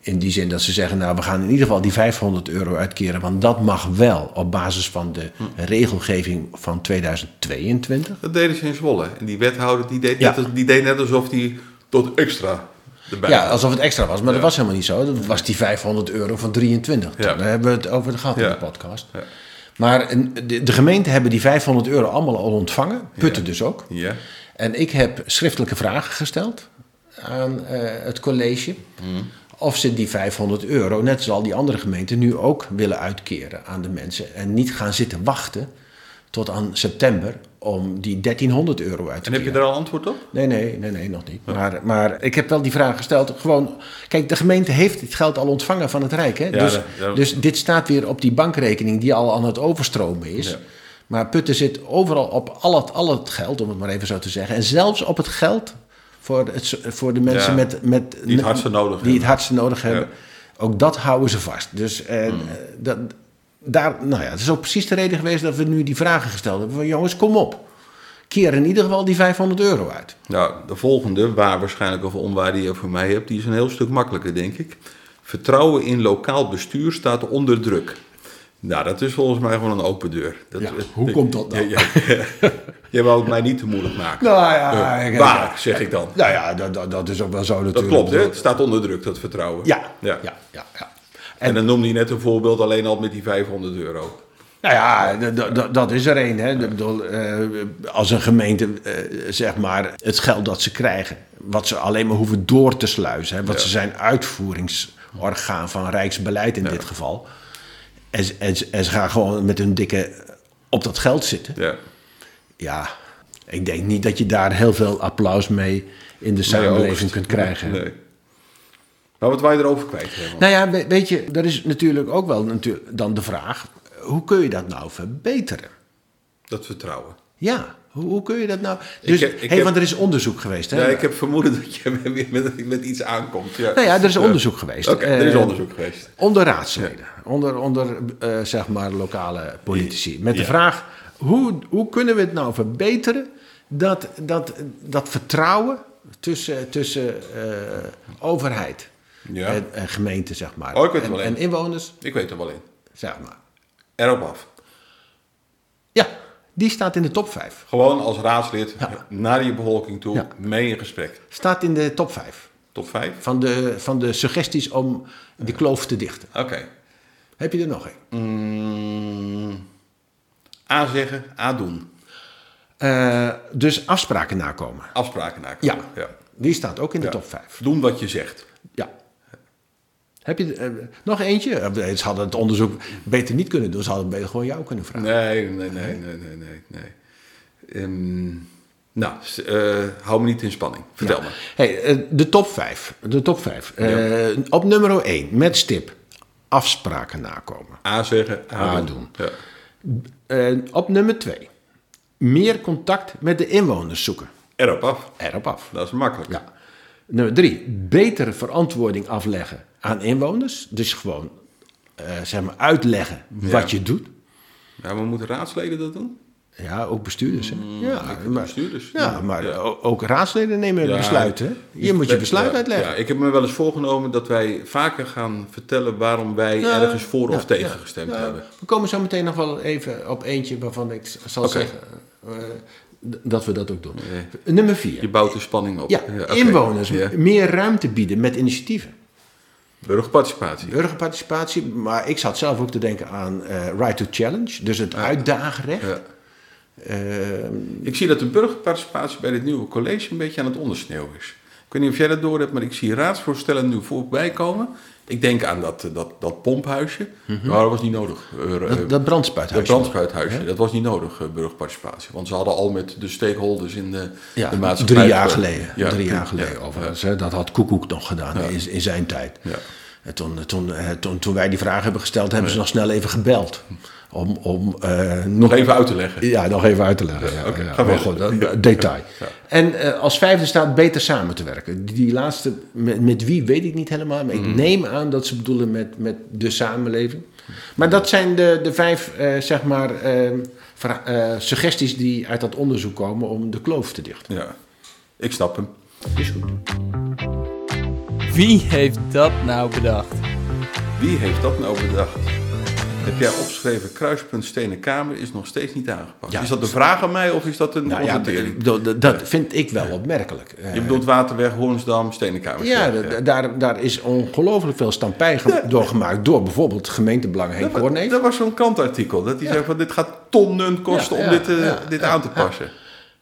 [SPEAKER 3] In die zin dat ze zeggen, nou we gaan in ieder geval die 500 euro uitkeren. Want dat mag wel op basis van de regelgeving van 2022.
[SPEAKER 2] Dat deden ze in Zwolle. En die wethouder die deed,
[SPEAKER 3] Ja.
[SPEAKER 2] net, als- die deed net alsof die tot extra erbij
[SPEAKER 3] Ja,
[SPEAKER 2] had.
[SPEAKER 3] alsof het extra was, maar dat was helemaal niet zo. Dat was die 500 euro van 23.
[SPEAKER 2] Ja.
[SPEAKER 3] Daar hebben we het over gehad in
[SPEAKER 2] Ja.
[SPEAKER 3] de podcast.
[SPEAKER 2] Ja.
[SPEAKER 3] Maar en, de, de gemeenten hebben die 500 euro allemaal al ontvangen. Putten dus ook.
[SPEAKER 2] Ja.
[SPEAKER 3] En ik heb schriftelijke vragen gesteld aan eh, het college.
[SPEAKER 2] Hmm.
[SPEAKER 3] Of ze die 500 euro, net zoals al die andere gemeenten, nu ook willen uitkeren aan de mensen. En niet gaan zitten wachten tot aan september om die 1300 euro uit te
[SPEAKER 2] En heb je
[SPEAKER 3] keren.
[SPEAKER 2] daar al antwoord op?
[SPEAKER 3] Nee, nee, nee, nee, nog niet. Maar, maar ik heb wel die vraag gesteld. Gewoon, kijk, de gemeente heeft dit geld al ontvangen van het Rijk. Hè? dus,
[SPEAKER 2] dat- dat-
[SPEAKER 3] dus dit staat weer op die bankrekening die al aan het overstromen is.
[SPEAKER 2] Ja.
[SPEAKER 3] Maar Putten zit overal op al het, al het geld, om het maar even zo te zeggen. En zelfs op het geld voor, het, s- voor de mensen
[SPEAKER 2] Ja,
[SPEAKER 3] met, met...
[SPEAKER 2] die het hardste nodig
[SPEAKER 3] die
[SPEAKER 2] hebben.
[SPEAKER 3] het hardste nodig hebben. Ook dat houden ze vast. Dus eh,
[SPEAKER 2] Hmm.
[SPEAKER 3] dat, daar, nou ja, het is ook precies de reden geweest dat we nu die vragen gesteld hebben. Van, jongens, kom op. Keer in ieder geval die 500 euro uit.
[SPEAKER 2] Nou, de volgende, waar waarschijnlijk of onwaar die je voor mij hebt, die is een heel stuk makkelijker, denk ik. Vertrouwen in lokaal bestuur staat onder druk. Nou, dat is volgens mij gewoon een open deur. Dat,
[SPEAKER 3] Ja, hoe komt dat nou?
[SPEAKER 2] Ja, ja. *laughs* Jij wou het mij niet te moeilijk maken.
[SPEAKER 3] Nou ja,
[SPEAKER 2] Eh,
[SPEAKER 3] ik- ik-
[SPEAKER 2] waar, zeg ik dan.
[SPEAKER 3] Nou ja, dat, dat, dat is ook wel zo natuurlijk.
[SPEAKER 2] Dat klopt, hè? Het staat onder druk, dat vertrouwen.
[SPEAKER 3] Ja,
[SPEAKER 2] ja.
[SPEAKER 3] ja, ja. ja,
[SPEAKER 2] En dan noemde je net een voorbeeld alleen al met die 500 euro.
[SPEAKER 3] Nou ja, d- d- d- dat is er een. Hè. Ik bedoel, eh, als een gemeente, eh, zeg maar, het geld dat ze krijgen, wat ze alleen maar hoeven door te sluizen, hè, want ze zijn uitvoeringsorgaan van Rijksbeleid in dit geval. En, ze- en, ze- en ze gaan gewoon met hun dikke op dat geld zitten.
[SPEAKER 2] Ja.
[SPEAKER 3] Ja, ik denk niet dat je daar heel veel applaus mee in de samenleving
[SPEAKER 2] oogst.
[SPEAKER 3] kunt krijgen.
[SPEAKER 2] Nee. Maar wat wij erover kwijt hebben.
[SPEAKER 3] Nou ja, we- weet je, er is natuurlijk ook wel natuurlijk dan de vraag: hoe kun je dat nou verbeteren?
[SPEAKER 2] Dat vertrouwen.
[SPEAKER 3] Ja, hoe, hoe kun je dat nou? Dus,
[SPEAKER 2] heb- ik
[SPEAKER 3] hey,
[SPEAKER 2] heb-
[SPEAKER 3] want er is onderzoek geweest. Hè?
[SPEAKER 2] Ja, ik heb vermoeden dat je weer met, met iets aankomt. Ja.
[SPEAKER 3] Nou ja, er is onderzoek geweest.
[SPEAKER 2] Oké, er is
[SPEAKER 3] Eh,
[SPEAKER 2] onderzoek geweest.
[SPEAKER 3] Onder raadsleden, onder, onder eh, zeg maar lokale politici. Met de
[SPEAKER 2] Ja.
[SPEAKER 3] vraag: hoe, hoe kunnen we het nou verbeteren dat, dat, dat vertrouwen tussen, tussen eh, overheid
[SPEAKER 2] Ja.
[SPEAKER 3] en, en gemeente, zeg maar,
[SPEAKER 2] Oh, ik weet het
[SPEAKER 3] en,
[SPEAKER 2] wel, hè.
[SPEAKER 3] en inwoners,
[SPEAKER 2] Ik weet er wel in.
[SPEAKER 3] zeg maar.
[SPEAKER 2] Erop af.
[SPEAKER 3] Ja, die staat in de top 5.
[SPEAKER 2] Gewoon als raadslid
[SPEAKER 3] Ja.
[SPEAKER 2] naar je bevolking toe,
[SPEAKER 3] Ja.
[SPEAKER 2] mee in gesprek.
[SPEAKER 3] Staat in de top 5.
[SPEAKER 2] Top 5?
[SPEAKER 3] Van de, van de suggesties om die kloof te dichten.
[SPEAKER 2] Oké.
[SPEAKER 3] Heb je er nog een?
[SPEAKER 2] Mm, A zeggen, A doen.
[SPEAKER 3] Eh, dus afspraken nakomen.
[SPEAKER 2] Afspraken maken.
[SPEAKER 3] Ja.
[SPEAKER 2] ja.
[SPEAKER 3] Die staat ook in de
[SPEAKER 2] Ja.
[SPEAKER 3] top 5.
[SPEAKER 2] Doen wat je zegt.
[SPEAKER 3] Ja. Heb je er, eh, nog eentje? Eh, Ze hadden het onderzoek beter niet kunnen doen. Ze hadden beter gewoon jou kunnen vragen.
[SPEAKER 2] Nee, nee, nee, nee, nee, nee. nee. Ehm, nou, s- eh, hou me niet in spanning. Vertel me.
[SPEAKER 3] Hey, eh, de top 5. De top 5. Op nummer 1 met stip. Afspraken nakomen.
[SPEAKER 2] A zeggen, A,
[SPEAKER 3] A
[SPEAKER 2] doen. Ja.
[SPEAKER 3] Eh, op nummer 2. Meer contact met de inwoners zoeken.
[SPEAKER 2] Erop af.
[SPEAKER 3] Erop af.
[SPEAKER 2] Dat is makkelijk.
[SPEAKER 3] Ja. Nummer 3. Betere verantwoording afleggen aan inwoners. Dus gewoon eh, zeg maar uitleggen wat je doet.
[SPEAKER 2] Ja, maar moeten raadsleden dat doen?
[SPEAKER 3] Ja, ook bestuurders. Hè? Ja, maar,
[SPEAKER 2] Mm, bestuurders.
[SPEAKER 3] Ja, maar
[SPEAKER 2] Ja.
[SPEAKER 3] o- ook raadsleden nemen
[SPEAKER 2] Ja. Dus
[SPEAKER 3] besluiten. hè? Je moet je
[SPEAKER 2] Ja,
[SPEAKER 3] besluit uitleggen.
[SPEAKER 2] Ja, ik heb me wel eens voorgenomen dat wij vaker gaan vertellen waarom wij
[SPEAKER 3] Ja,
[SPEAKER 2] ergens voor of
[SPEAKER 3] ja,
[SPEAKER 2] tegen
[SPEAKER 3] ja,
[SPEAKER 2] gestemd
[SPEAKER 3] ja.
[SPEAKER 2] hebben.
[SPEAKER 3] We komen zo meteen nog wel even op eentje waarvan ik z- zal
[SPEAKER 2] Oké.
[SPEAKER 3] zeggen eh, d- dat we dat ook doen. Nummer
[SPEAKER 2] Je
[SPEAKER 3] vier.
[SPEAKER 2] bouwt de spanning op.
[SPEAKER 3] Ja,
[SPEAKER 2] oké.
[SPEAKER 3] inwoners
[SPEAKER 2] Ja.
[SPEAKER 3] meer ruimte bieden met initiatieven.
[SPEAKER 2] Burgerparticipatie.
[SPEAKER 3] Burgerparticipatie, maar ik zat zelf ook te denken aan eh, right to challenge, dus het uitdagenrecht.
[SPEAKER 2] Ja.
[SPEAKER 3] Eh,
[SPEAKER 2] Ik zie dat de burgerparticipatie bij dit nieuwe college een beetje aan het ondersneeuwen is. Ik weet niet of jij dat door hebt, maar ik zie raadsvoorstellen nu voorbij komen. Ik denk aan dat, eh, dat, dat pomphuisje. Maar dat was niet nodig. Eh, eh,
[SPEAKER 3] Mhm. dat, dat brandspuithuis.
[SPEAKER 2] dat brandspuithuisje, dat was niet nodig, eh, burgerparticipatie. Want ze hadden al met de stakeholders in de,
[SPEAKER 3] Ja,
[SPEAKER 2] de maatschappij...
[SPEAKER 3] drie jaar
[SPEAKER 2] gesproken.
[SPEAKER 3] geleden.
[SPEAKER 2] Ja,
[SPEAKER 3] drie jaar
[SPEAKER 2] ja,
[SPEAKER 3] geleden
[SPEAKER 2] ja.
[SPEAKER 3] overigens. hè. Dat had Koekoek nog gedaan in, in zijn tijd.
[SPEAKER 2] Ja.
[SPEAKER 3] En toen, toen, eh, toen, toen wij die vraag hebben gesteld, hebben ze nog snel even gebeld. Om, om eh, nog,
[SPEAKER 2] Nog even uit te leggen.
[SPEAKER 3] ja, nog even uit te leggen. Ja,
[SPEAKER 2] oké,
[SPEAKER 3] ja.
[SPEAKER 2] ga
[SPEAKER 3] Maar
[SPEAKER 2] verder.
[SPEAKER 3] goed, dat- detail. En eh, als vijfde staat beter samen te werken. Die, die laatste, met, met wie weet ik niet helemaal. Maar ik neem aan dat ze bedoelen met, met de samenleving. Maar dat zijn de, de vijf eh, zeg maar, eh, vra- eh, suggesties die uit dat onderzoek komen om de kloof te dichten.
[SPEAKER 2] Ja, ik snap hem.
[SPEAKER 3] Is goed.
[SPEAKER 1] Wie heeft dat nou bedacht?
[SPEAKER 2] Wie heeft dat nou bedacht? Heb jij opgeschreven kruispunt stenen kamer is nog steeds niet aangepakt.
[SPEAKER 3] Ja.
[SPEAKER 2] Is dat een vraag aan mij of is dat een
[SPEAKER 3] Nou ja,
[SPEAKER 2] constatering?
[SPEAKER 3] d- d- dat vind ik wel opmerkelijk. Eh,
[SPEAKER 2] Je bedoelt Waterweg, Hoornsdam, stenen kamer.
[SPEAKER 3] ja, d- d- daar, daar is ongelooflijk veel stampij ge- door gemaakt door bijvoorbeeld gemeentebelang Henk
[SPEAKER 2] dat, wa-
[SPEAKER 3] Corneef.
[SPEAKER 2] dat was zo'n kantartikel. Dat die zei van dit gaat tonnen kosten
[SPEAKER 3] Ja,
[SPEAKER 2] om
[SPEAKER 3] ja,
[SPEAKER 2] dit, eh,
[SPEAKER 3] ja,
[SPEAKER 2] dit aan te passen.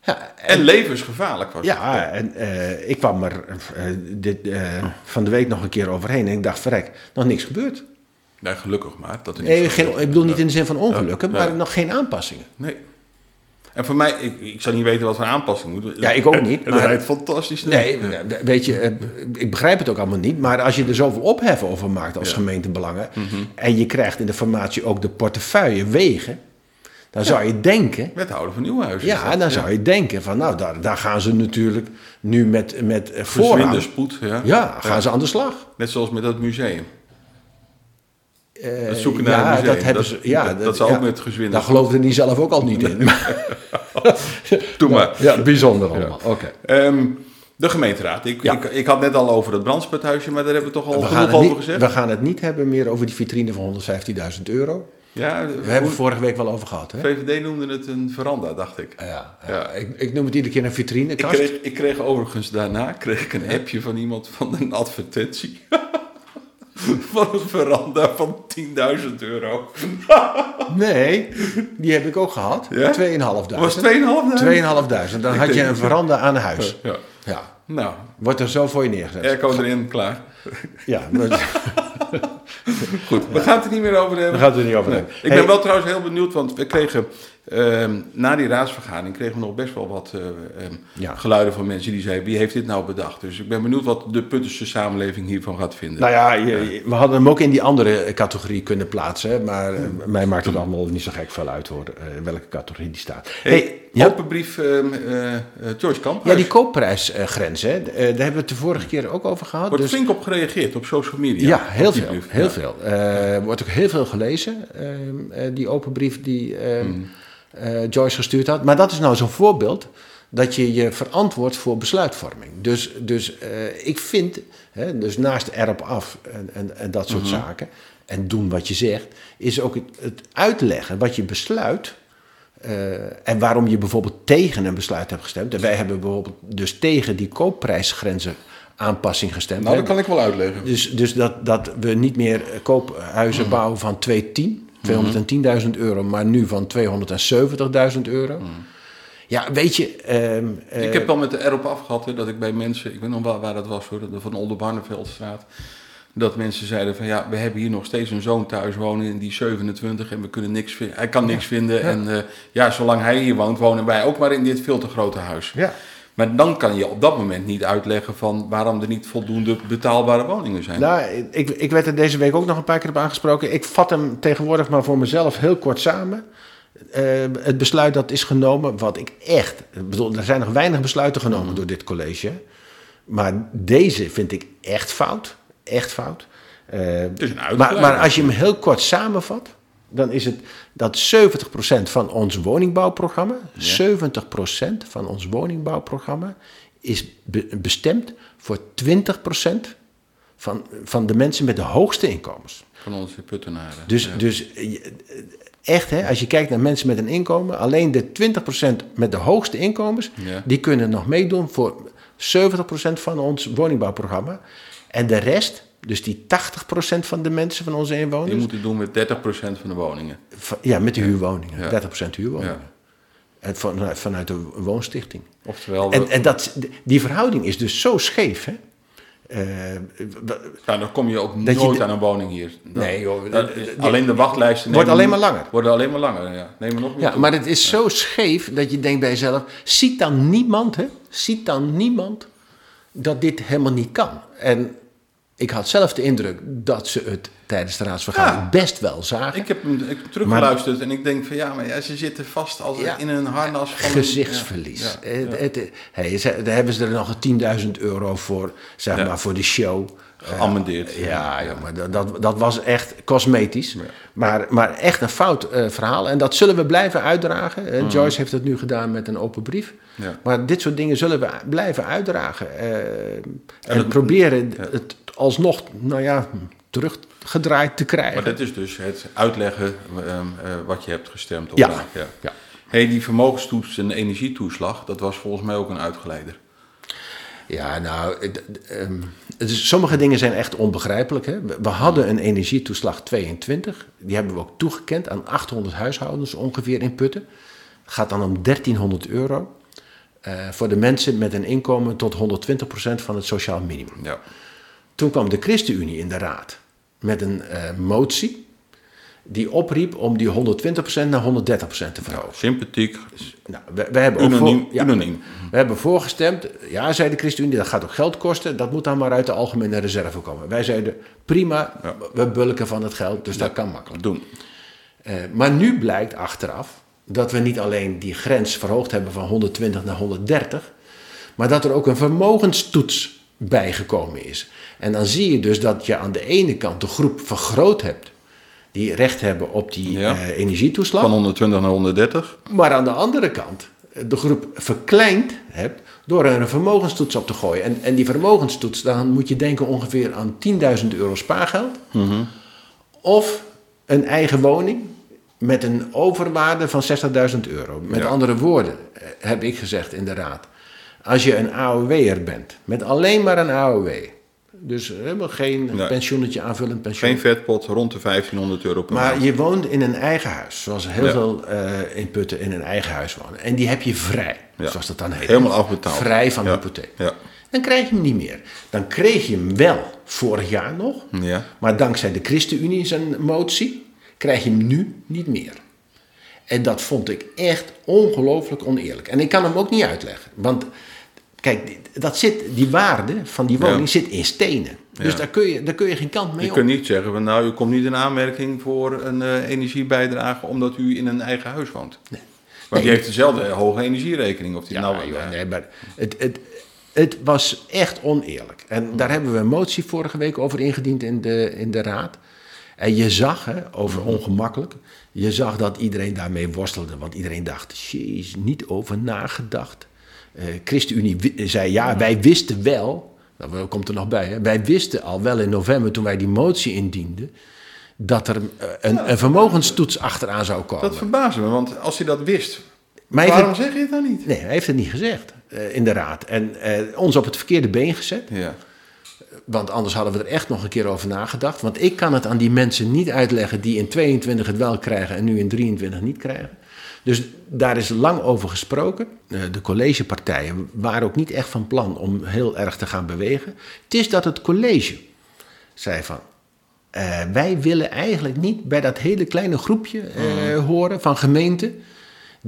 [SPEAKER 3] Ja,
[SPEAKER 2] En levensgevaarlijk was het.
[SPEAKER 3] Ja, en eh, ik kwam er eh, dit, eh, van de week nog een keer overheen en ik dacht, verrek, nog niks gebeurd.
[SPEAKER 2] Nou, gelukkig maar. Dat er niks
[SPEAKER 3] Nee, geen,
[SPEAKER 2] gebeurt.
[SPEAKER 3] ik bedoel niet in de zin van ongelukken,
[SPEAKER 2] Ja.
[SPEAKER 3] maar nog geen aanpassingen.
[SPEAKER 2] Nee. En voor mij, ik, ik zou niet weten wat voor aanpassing moet.
[SPEAKER 3] Ja, ik ook
[SPEAKER 2] *laughs*
[SPEAKER 3] niet,
[SPEAKER 2] Het
[SPEAKER 3] maar-
[SPEAKER 2] rijdt fantastisch.
[SPEAKER 3] Nee, weet je, eh, ik begrijp het ook allemaal niet, maar als je er zoveel ophef over maakt als
[SPEAKER 2] Ja.
[SPEAKER 3] gemeentebelangen en je krijgt in de formatie ook de portefeuille wegen, dan zou je denken
[SPEAKER 2] Wethouder van Nieuwhuizen. is
[SPEAKER 3] Ja,
[SPEAKER 2] dat.
[SPEAKER 3] dan zou je denken van nou, daar, daar gaan ze natuurlijk nu met, met eh,
[SPEAKER 2] Verzwinder
[SPEAKER 3] voorrang.
[SPEAKER 2] spoed. Ja.
[SPEAKER 3] Ja, gaan ze aan de slag.
[SPEAKER 2] Net zoals met dat museum.
[SPEAKER 3] Eh,
[SPEAKER 2] Het zoeken naar
[SPEAKER 3] ja,
[SPEAKER 2] een museum,
[SPEAKER 3] Dat hebben
[SPEAKER 2] dat-
[SPEAKER 3] ze, ja, Nou,
[SPEAKER 2] dat- dat zou ook met gezwind-
[SPEAKER 3] gezwind. Daar geloofden die zelf ook al niet in.
[SPEAKER 2] Doe maar.
[SPEAKER 3] *laughs* ja, bijzonder allemaal. Oké.
[SPEAKER 2] Ehm, de gemeenteraad. Ik,
[SPEAKER 3] Ja.
[SPEAKER 2] ik, ik had net al over dat brandsputhuisje, maar daar hebben we toch al
[SPEAKER 3] We, gaan
[SPEAKER 2] genoeg
[SPEAKER 3] het
[SPEAKER 2] over
[SPEAKER 3] niet-
[SPEAKER 2] gezegd.
[SPEAKER 3] we gaan het niet hebben meer over die vitrine van 115.000 euro.
[SPEAKER 2] ja,
[SPEAKER 3] We hebben
[SPEAKER 2] hoe-
[SPEAKER 3] het vorige week wel over gehad. Hè?
[SPEAKER 2] VVD noemde het een veranda, dacht ik.
[SPEAKER 3] Ja,
[SPEAKER 2] Ja.
[SPEAKER 3] ja. Ik, ik noem het iedere keer een
[SPEAKER 2] Ik
[SPEAKER 3] vitrinekast.
[SPEAKER 2] kreeg, ik kreeg overigens daarna kreeg ik een appje van iemand van een advertentie. *laughs* van een veranda van 10.000 euro.
[SPEAKER 3] Nee, die heb ik ook gehad.
[SPEAKER 2] Ja?
[SPEAKER 3] 2.500.
[SPEAKER 2] was 2,5
[SPEAKER 3] 2.500. Dan had je een veranda aan huis.
[SPEAKER 2] Ja.
[SPEAKER 3] Ja.
[SPEAKER 2] Nou,
[SPEAKER 3] Wordt er zo voor je neergezet.
[SPEAKER 2] airco erin, klaar.
[SPEAKER 3] Ja, maar
[SPEAKER 2] *laughs* Goed, we gaan het er niet meer over hebben.
[SPEAKER 3] daar gaat nou. het er niet over.
[SPEAKER 2] Nee.
[SPEAKER 3] hebben.
[SPEAKER 2] Ik
[SPEAKER 3] Hey,
[SPEAKER 2] ben wel trouwens heel benieuwd, want we kregen ehm, na die raadsvergadering kregen we nog best wel wat eh, ehm,
[SPEAKER 3] Ja.
[SPEAKER 2] geluiden van mensen die zeiden: wie heeft dit nou bedacht? Dus ik ben benieuwd wat de Puttense samenleving hiervan gaat vinden.
[SPEAKER 3] Nou ja, je- je- we hadden hem ook in die andere categorie kunnen plaatsen. hè, Maar eh, mij maakt het allemaal niet zo gek veel uit hoor, eh, welke categorie die staat.
[SPEAKER 2] hey,
[SPEAKER 3] Hey, ja,
[SPEAKER 2] Open brief, ehm, eh, eh, George Kamp.
[SPEAKER 3] ja, die koopprijsgrens, hè, eh, daar hebben we het de vorige keer ook over gehad.
[SPEAKER 2] wordt
[SPEAKER 3] dus-
[SPEAKER 2] flink op gereageerd op social media.
[SPEAKER 3] ja, heel
[SPEAKER 2] op die
[SPEAKER 3] veel.
[SPEAKER 2] brief.
[SPEAKER 3] Heel
[SPEAKER 2] Ja.
[SPEAKER 3] veel. Eh, wordt ook heel veel gelezen, eh, eh, die open brief die eh,
[SPEAKER 2] Mm.
[SPEAKER 3] eh, Joyce gestuurd had. Maar dat is nou zo'n voorbeeld dat je je verantwoordt voor besluitvorming. Dus, dus eh, ik vind, hè, dus naast erop af en, en, en dat soort
[SPEAKER 2] Mhm.
[SPEAKER 3] zaken, en doen wat je zegt, is ook het, het uitleggen wat je besluit. eh, en waarom je bijvoorbeeld tegen een besluit hebt gestemd. En wij hebben bijvoorbeeld dus tegen die koopprijsgrenzen aanpassing gestemd
[SPEAKER 2] Nou, dat
[SPEAKER 3] hebben.
[SPEAKER 2] kan ik wel uitleggen.
[SPEAKER 3] Dus, dus dat, dat we niet meer eh, koophuizen bouwen van 210, 210.000 euro, maar nu van 270.000 euro. Ja, weet je, ehm, eh,
[SPEAKER 2] ik heb wel met de erop afgehad hè, dat ik bij mensen, ik weet nog wel waar dat was hoor, de Van Oldenbarneveldstraat. Dat mensen zeiden van ja, we hebben hier nog steeds een zoon thuis wonen en die is 27 en we kunnen niks vinden. Hij kan niks vinden. En eh, ja, zolang hij hier woont, wonen wij ook maar in dit veel te grote huis.
[SPEAKER 3] Ja.
[SPEAKER 2] Maar dan kan je op dat moment niet uitleggen van waarom er niet voldoende betaalbare woningen zijn.
[SPEAKER 3] Nou, ik, ik werd er deze week ook nog een paar keer op aangesproken. Ik vat hem tegenwoordig maar voor mezelf heel kort samen. Eh, het besluit dat is genomen, wat ik echt... Ik bedoel, er zijn nog weinig besluiten genomen door dit college. Maar deze vind ik echt fout. Echt fout. Eh,
[SPEAKER 2] is een uitbreiding.
[SPEAKER 3] maar, maar als je hem heel kort samenvat... dan is het dat 70% van ons woningbouwprogramma... 70% van ons woningbouwprogramma... is be- bestemd voor 20% van, van de mensen met de hoogste inkomens.
[SPEAKER 2] Van onze puttenaren.
[SPEAKER 3] Dus, dus eh, je- echt, hè, als je kijkt naar mensen met een inkomen, alleen de 20% met de hoogste inkomens,
[SPEAKER 2] Ja.
[SPEAKER 3] die kunnen nog meedoen voor 70% van ons woningbouwprogramma. En de rest, dus die 80% van de mensen van onze inwoners,
[SPEAKER 2] Die moeten doen met 30% van de woningen.
[SPEAKER 3] van- ja, met de huurwoningen,
[SPEAKER 2] Ja.
[SPEAKER 3] 30% huurwoningen.
[SPEAKER 2] Ja.
[SPEAKER 3] En vanuit, vanuit de woonstichting.
[SPEAKER 2] Oftewel, we-
[SPEAKER 3] En, en dat, die verhouding is dus zo scheef. Hè? Eh, w-
[SPEAKER 2] Ja, dan kom je ook
[SPEAKER 3] je
[SPEAKER 2] nooit
[SPEAKER 3] de-
[SPEAKER 2] aan een woning hier. Dan-
[SPEAKER 3] Nee, joh.
[SPEAKER 2] dan-
[SPEAKER 3] Eh, eh,
[SPEAKER 2] alleen de wachtlijsten
[SPEAKER 3] Wordt
[SPEAKER 2] nemen-
[SPEAKER 3] alleen maar langer.
[SPEAKER 2] Worden alleen maar langer, ja. Nemen nog meer
[SPEAKER 3] Ja,
[SPEAKER 2] toe.
[SPEAKER 3] maar het is zo scheef dat je denkt bij jezelf: ziet dan niemand, hè? Ziet dan niemand dat dit helemaal niet kan? En ik had zelf de indruk dat ze het tijdens de raadsvergadering
[SPEAKER 2] Ja.
[SPEAKER 3] best wel zagen.
[SPEAKER 2] Ik heb hem ik heb hem teruggeluisterd en ik denk van ja, maar ja, ze zitten vast als
[SPEAKER 3] Ja.
[SPEAKER 2] in een harnas van... een-
[SPEAKER 3] Gezichtsverlies. Eh,
[SPEAKER 2] Ja, ja.
[SPEAKER 3] Het- het- hey, ze- daar hebben ze er nog 10.000 euro voor, zeg maar, voor de show.
[SPEAKER 2] Geamendeerd.
[SPEAKER 3] Ja, ja, maar dat, dat, dat was echt cosmetisch. Maar, maar echt een fout eh, verhaal. En dat zullen we blijven uitdragen. Eh, Joyce heeft dat nu gedaan met een open brief.
[SPEAKER 2] Mhm. Ja.
[SPEAKER 3] Maar dit soort dingen zullen we blijven uitdragen. eh, en proberen het alsnog nou ja, teruggedraaid te krijgen.
[SPEAKER 2] Maar dat is dus het uitleggen ehm, eh, wat je hebt gestemd. Op
[SPEAKER 3] Ja.
[SPEAKER 2] ja.
[SPEAKER 3] Ja.
[SPEAKER 2] Hey, die vermogenstoets en energietoeslag, dat was volgens mij ook een uitgeleider.
[SPEAKER 3] Ja, nou, het- het, ehm, het is- sommige dingen zijn echt onbegrijpelijk. Hè? We, we hadden een energietoeslag 22. Die hebben we ook toegekend aan 800 huishoudens ongeveer in Putten. Gaat dan om 1300 euro. eh, voor de mensen met een inkomen tot 120% van het sociaal minimum.
[SPEAKER 2] Ja.
[SPEAKER 3] Toen kwam de ChristenUnie in de raad met een eh, motie. Die opriep om die 120% naar 130% te verhogen.
[SPEAKER 2] Sympathiek,
[SPEAKER 3] Nou, we, we hebben ook
[SPEAKER 2] unaniem.
[SPEAKER 3] voor- ja.
[SPEAKER 2] unaniem.
[SPEAKER 3] We hebben voorgestemd, ja, zei de ChristenUnie, dat gaat ook geld kosten. Dat moet dan maar uit de algemene reserve komen. Wij zeiden, prima, we bulken van het geld, dus dat kan makkelijk.
[SPEAKER 2] Doen.
[SPEAKER 3] Eh, maar nu blijkt achteraf dat we niet alleen die grens verhoogd hebben van 120 naar 130, maar dat er ook een vermogenstoets bijgekomen is. En dan zie je dus dat je aan de ene kant de groep vergroot hebt die recht hebben op die
[SPEAKER 2] Ja.
[SPEAKER 3] eh, energietoeslag.
[SPEAKER 2] Van 120 naar 130.
[SPEAKER 3] Maar aan de andere kant eh, de groep verkleind hebt door er een vermogenstoets op te gooien. En, en die vermogenstoets, dan moet je denken ongeveer aan 10.000 euro spaargeld.
[SPEAKER 2] Mhm.
[SPEAKER 3] Of een eigen woning met een overwaarde van 60.000 euro. Met
[SPEAKER 2] Ja.
[SPEAKER 3] andere woorden, eh, heb ik gezegd in de raad. Als je een AOW'er bent, met alleen maar een AOW. Dus helemaal geen
[SPEAKER 2] Nee.
[SPEAKER 3] pensioenetje aanvullend pensioen.
[SPEAKER 2] Geen vetpot, rond de 1500 euro per maand.
[SPEAKER 3] Maar je woont in een eigen huis, zoals heel
[SPEAKER 2] Ja.
[SPEAKER 3] veel eh, in Putten in een eigen huis wonen. En die heb je vrij,
[SPEAKER 2] Ja.
[SPEAKER 3] zoals dat dan heet.
[SPEAKER 2] Helemaal afbetaald.
[SPEAKER 3] Vrij van
[SPEAKER 2] Ja.
[SPEAKER 3] hypotheek.
[SPEAKER 2] Ja.
[SPEAKER 3] Dan krijg je hem niet meer. Dan kreeg je hem wel vorig jaar nog.
[SPEAKER 2] Ja.
[SPEAKER 3] Maar dankzij de ChristenUnie zijn motie krijg je hem nu niet meer. En dat vond ik echt ongelooflijk oneerlijk. En ik kan hem ook niet uitleggen. Want kijk, die- dat zit, die waarde van die woning
[SPEAKER 2] Ja.
[SPEAKER 3] zit in stenen. Dus
[SPEAKER 2] Ja.
[SPEAKER 3] daar, kun je, daar kun je geen kant mee
[SPEAKER 2] Je
[SPEAKER 3] op.
[SPEAKER 2] kunt niet zeggen, van, nou, u komt niet in aanmerking voor een eh, energiebijdrage omdat u in een eigen huis woont. Nee. Want die
[SPEAKER 3] Nee.
[SPEAKER 2] heeft dezelfde hoge energierekening. Of die
[SPEAKER 3] Ja,
[SPEAKER 2] nou,
[SPEAKER 3] joh,
[SPEAKER 2] eh,
[SPEAKER 3] nee, maar het, het, het was echt oneerlijk. En daar hebben we een motie vorige week over ingediend in de, in de raad. En je zag, hè, over ongemakkelijk, je zag dat iedereen daarmee worstelde. Want iedereen dacht, jeez, niet over nagedacht. Eh ChristenUnie wi- zei, ja, wij wisten wel, dat komt er nog bij, hè, wij wisten al wel in november toen wij die motie indienden, dat er eh, een, een vermogenstoets achteraan zou komen.
[SPEAKER 2] dat verbaast me, want als hij dat wist,
[SPEAKER 3] Maar even-
[SPEAKER 2] waarom zeg je het dan niet?
[SPEAKER 3] Nee, hij heeft het niet gezegd. eh, in de raad. En eh, ons op het verkeerde been gezet.
[SPEAKER 2] Ja.
[SPEAKER 3] Want anders hadden we er echt nog een keer over nagedacht. Want ik kan het aan die mensen niet uitleggen die in 22 het wel krijgen en nu in 23 niet krijgen. Dus daar is lang over gesproken. Eh, De collegepartijen waren ook niet echt van plan om heel erg te gaan bewegen. Het is dat het college zei van. eh, wij willen eigenlijk niet bij dat hele kleine groepje eh, horen van gemeenten.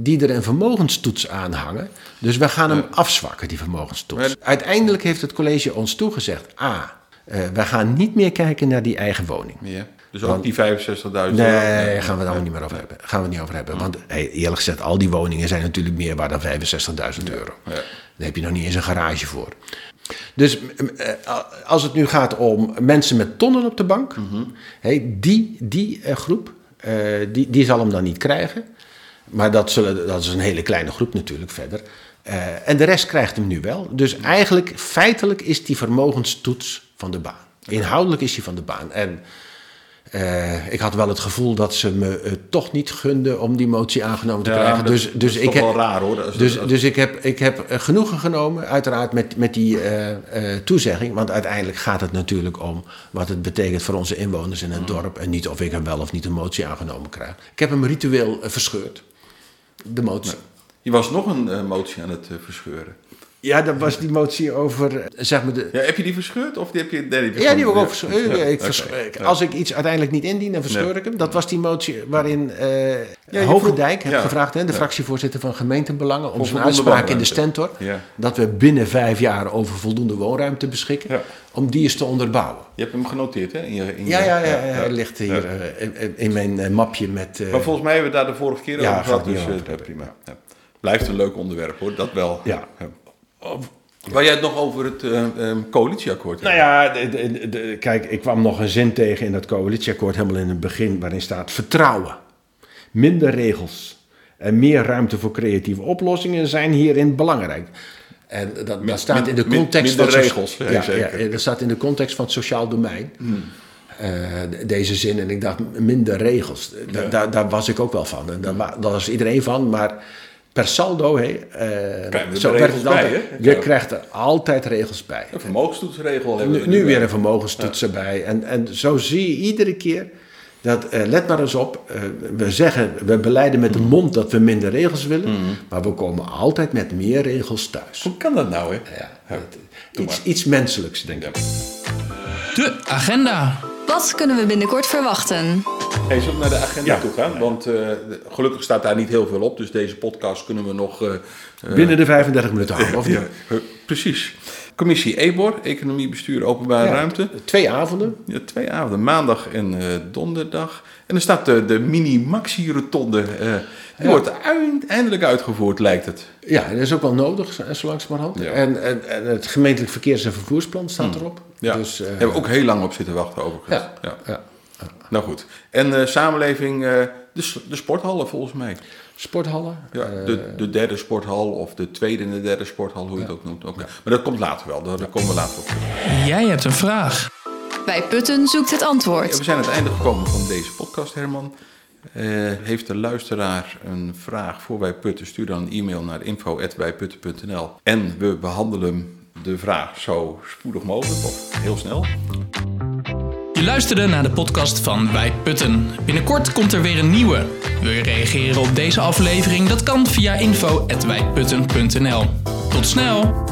[SPEAKER 3] die er een vermogenstoets aan hangen. Dus we gaan hem afzwakken, die vermogenstoets. Uiteindelijk heeft het college ons toegezegd: A. eh, wij gaan niet meer kijken naar die eigen woning.
[SPEAKER 2] ja. Dus ook die 65.000 euro.
[SPEAKER 3] Nee, daar gaan we het allemaal niet meer over hebben. Gaan we het niet over hebben. Want hey, eerlijk gezegd, al die woningen zijn natuurlijk meer waard dan 65.000 euro.
[SPEAKER 2] ja.
[SPEAKER 3] Daar heb je nog niet eens een garage voor. Dus m- m- eh, als het nu gaat om mensen met tonnen op de bank,
[SPEAKER 2] Mhm.
[SPEAKER 3] hey, die, die eh, groep, eh, die, die zal hem dan niet krijgen. Maar dat, zullen, dat is een hele kleine groep natuurlijk verder. Eh, en de rest krijgt hem nu wel. Dus eigenlijk, feitelijk is die vermogenstoets van de baan. Inhoudelijk is die van de baan. En eh, ik had wel het gevoel dat ze me eh, toch niet gunden om die motie aangenomen te
[SPEAKER 2] Ja,
[SPEAKER 3] krijgen.
[SPEAKER 2] maar dat-
[SPEAKER 3] Dus,
[SPEAKER 2] dat
[SPEAKER 3] dus
[SPEAKER 2] is
[SPEAKER 3] ik
[SPEAKER 2] toch wel
[SPEAKER 3] heb-
[SPEAKER 2] raar, hoor. Als-
[SPEAKER 3] dus,
[SPEAKER 2] als-
[SPEAKER 3] dus ik heb, ik heb eh, genoegen genomen, uiteraard met, met die eh, eh, toezegging. Want uiteindelijk gaat het natuurlijk om wat het betekent voor onze inwoners in het dorp. En niet of ik hem wel of niet een motie aangenomen krijg. Ik heb hem ritueel eh, verscheurd. De motie.
[SPEAKER 2] Je was nog een eh, motie aan het eh, verscheuren.
[SPEAKER 3] Ja, dat was die motie over, eh, zeg maar, de,
[SPEAKER 2] Ja, heb je die verscheurd of die heb je... Nee,
[SPEAKER 3] Ja, die heb ik
[SPEAKER 2] gewoon-
[SPEAKER 3] ook verscheuren.
[SPEAKER 2] Ja,
[SPEAKER 3] Ik
[SPEAKER 2] oké.
[SPEAKER 3] verscheur- ik-
[SPEAKER 2] Ja.
[SPEAKER 3] Als ik iets uiteindelijk niet indien, dan verscheur
[SPEAKER 2] Nee.
[SPEAKER 3] ik hem. Dat was die motie waarin eh
[SPEAKER 2] je
[SPEAKER 3] Hogendijk
[SPEAKER 2] vroeg-
[SPEAKER 3] heeft
[SPEAKER 2] ja.
[SPEAKER 3] gevraagd, hè, de fractievoorzitter van gemeentebelangen, om
[SPEAKER 2] Voor
[SPEAKER 3] zijn
[SPEAKER 2] voldoende
[SPEAKER 3] uitspraak in de
[SPEAKER 2] woonruimte.
[SPEAKER 3] stentor,
[SPEAKER 2] Ja.
[SPEAKER 3] dat we binnen vijf jaar over voldoende woonruimte beschikken,
[SPEAKER 2] Ja.
[SPEAKER 3] om die eens te onderbouwen.
[SPEAKER 2] Je hebt hem genoteerd, hè? In je, in
[SPEAKER 3] Ja,
[SPEAKER 2] je-
[SPEAKER 3] ja, ja, hij ligt hier eh, in, in mijn eh, mapje met... eh,
[SPEAKER 2] Maar volgens mij hebben we daar de vorige keer
[SPEAKER 3] Ja,
[SPEAKER 2] over
[SPEAKER 3] gaat
[SPEAKER 2] gehad.
[SPEAKER 3] het niet
[SPEAKER 2] Dus eh,
[SPEAKER 3] over
[SPEAKER 2] prima. Ja. Blijft een leuk onderwerp, hoor. Dat wel.
[SPEAKER 3] Ja.
[SPEAKER 2] Waar jij het nog over het eh, eh, coalitieakkoord
[SPEAKER 3] Nou
[SPEAKER 2] hebt.
[SPEAKER 3] ja, de- de- de- kijk, ik kwam nog een zin tegen in dat coalitieakkoord, helemaal in het begin, waarin staat vertrouwen. Minder regels en meer ruimte voor creatieve oplossingen zijn hierin belangrijk. En dat, dat staat in de
[SPEAKER 2] min-
[SPEAKER 3] context
[SPEAKER 2] minder
[SPEAKER 3] van
[SPEAKER 2] regels, ja,
[SPEAKER 3] Ja, ja,
[SPEAKER 2] zeker. Hmm.
[SPEAKER 3] dat staat in de context van het sociaal domein. eh, de- deze zin en ik dacht minder regels. Da- daar, daar was ik ook wel van. En daar, wa- daar was iedereen van, maar per saldo, hé, eh,
[SPEAKER 2] Krijgen we
[SPEAKER 3] zo
[SPEAKER 2] er
[SPEAKER 3] werd
[SPEAKER 2] regels
[SPEAKER 3] het altijd.
[SPEAKER 2] bij, hè?
[SPEAKER 3] je
[SPEAKER 2] Ja.
[SPEAKER 3] krijgt er altijd regels bij.
[SPEAKER 2] Een vermogenstoetsregel hebben we
[SPEAKER 3] Nu,
[SPEAKER 2] er
[SPEAKER 3] nu
[SPEAKER 2] bij.
[SPEAKER 3] weer een vermogenstoets erbij. En, en zo zie je iedere keer dat, eh, let maar eens op, eh, we zeggen, we beleiden
[SPEAKER 2] Mm.
[SPEAKER 3] met de mond dat we minder regels willen, maar we komen altijd met meer regels thuis.
[SPEAKER 2] Hoe kan dat nou, hè?
[SPEAKER 3] Ja,
[SPEAKER 2] Ja.
[SPEAKER 3] dat- iets, iets menselijks, denk ik.
[SPEAKER 1] De agenda.
[SPEAKER 4] Wat kunnen we binnenkort verwachten?
[SPEAKER 2] Hey, zullen we naar de agenda
[SPEAKER 3] Ja.
[SPEAKER 2] toe gaan? Want eh, de- gelukkig staat daar niet heel veel op. Dus deze podcast kunnen we nog... eh, eh,
[SPEAKER 3] Binnen de 35 minuten houden, of niet?
[SPEAKER 2] ja, eh, precies. Commissie EBOR, Economie, Bestuur, Openbare
[SPEAKER 3] Ja,
[SPEAKER 2] Ruimte.
[SPEAKER 3] Twee avonden.
[SPEAKER 2] Ja, twee avonden, maandag en eh, donderdag. En er staat de, de mini-maxi-rotonde. eh, die
[SPEAKER 3] Ja.
[SPEAKER 2] wordt uiteindelijk uitgevoerd, lijkt het.
[SPEAKER 3] Ja, dat is ook wel nodig, zo zo langzamerhand.
[SPEAKER 2] Ja. Mm.
[SPEAKER 3] En, en, en het gemeentelijk verkeers- en vervoersplan staat erop.
[SPEAKER 2] Ja.
[SPEAKER 3] Dus, eh,
[SPEAKER 2] Hebben we ook heel lang op zitten wachten, overigens.
[SPEAKER 3] ja,
[SPEAKER 2] Ja.
[SPEAKER 3] ja.
[SPEAKER 2] Nou goed. En eh, samenleving, eh, de, s- de sporthallen volgens mij.
[SPEAKER 3] Sporthallen.
[SPEAKER 2] Ja,
[SPEAKER 3] eh,
[SPEAKER 2] de, de derde sporthal of de tweede en de derde sporthal, hoe je het ook noemt. Oké. Maar dat komt later wel, daar daar komen we later op. terug.
[SPEAKER 1] Jij hebt een vraag.
[SPEAKER 4] Bij Putten zoekt het
[SPEAKER 2] Ja,
[SPEAKER 4] antwoord.
[SPEAKER 2] we zijn aan het einde gekomen van deze podcast, Herman. Eh, heeft de luisteraar een vraag voor Wij Putten? Stuur dan een e-mail naar info.wijputten.nl. En we behandelen de vraag zo spoedig mogelijk, of heel snel.
[SPEAKER 1] Je luisterde naar de podcast van Wij Putten. Binnenkort komt er weer een nieuwe. Wil je reageren op deze aflevering? Dat kan via info.wijputten.nl. Tot snel!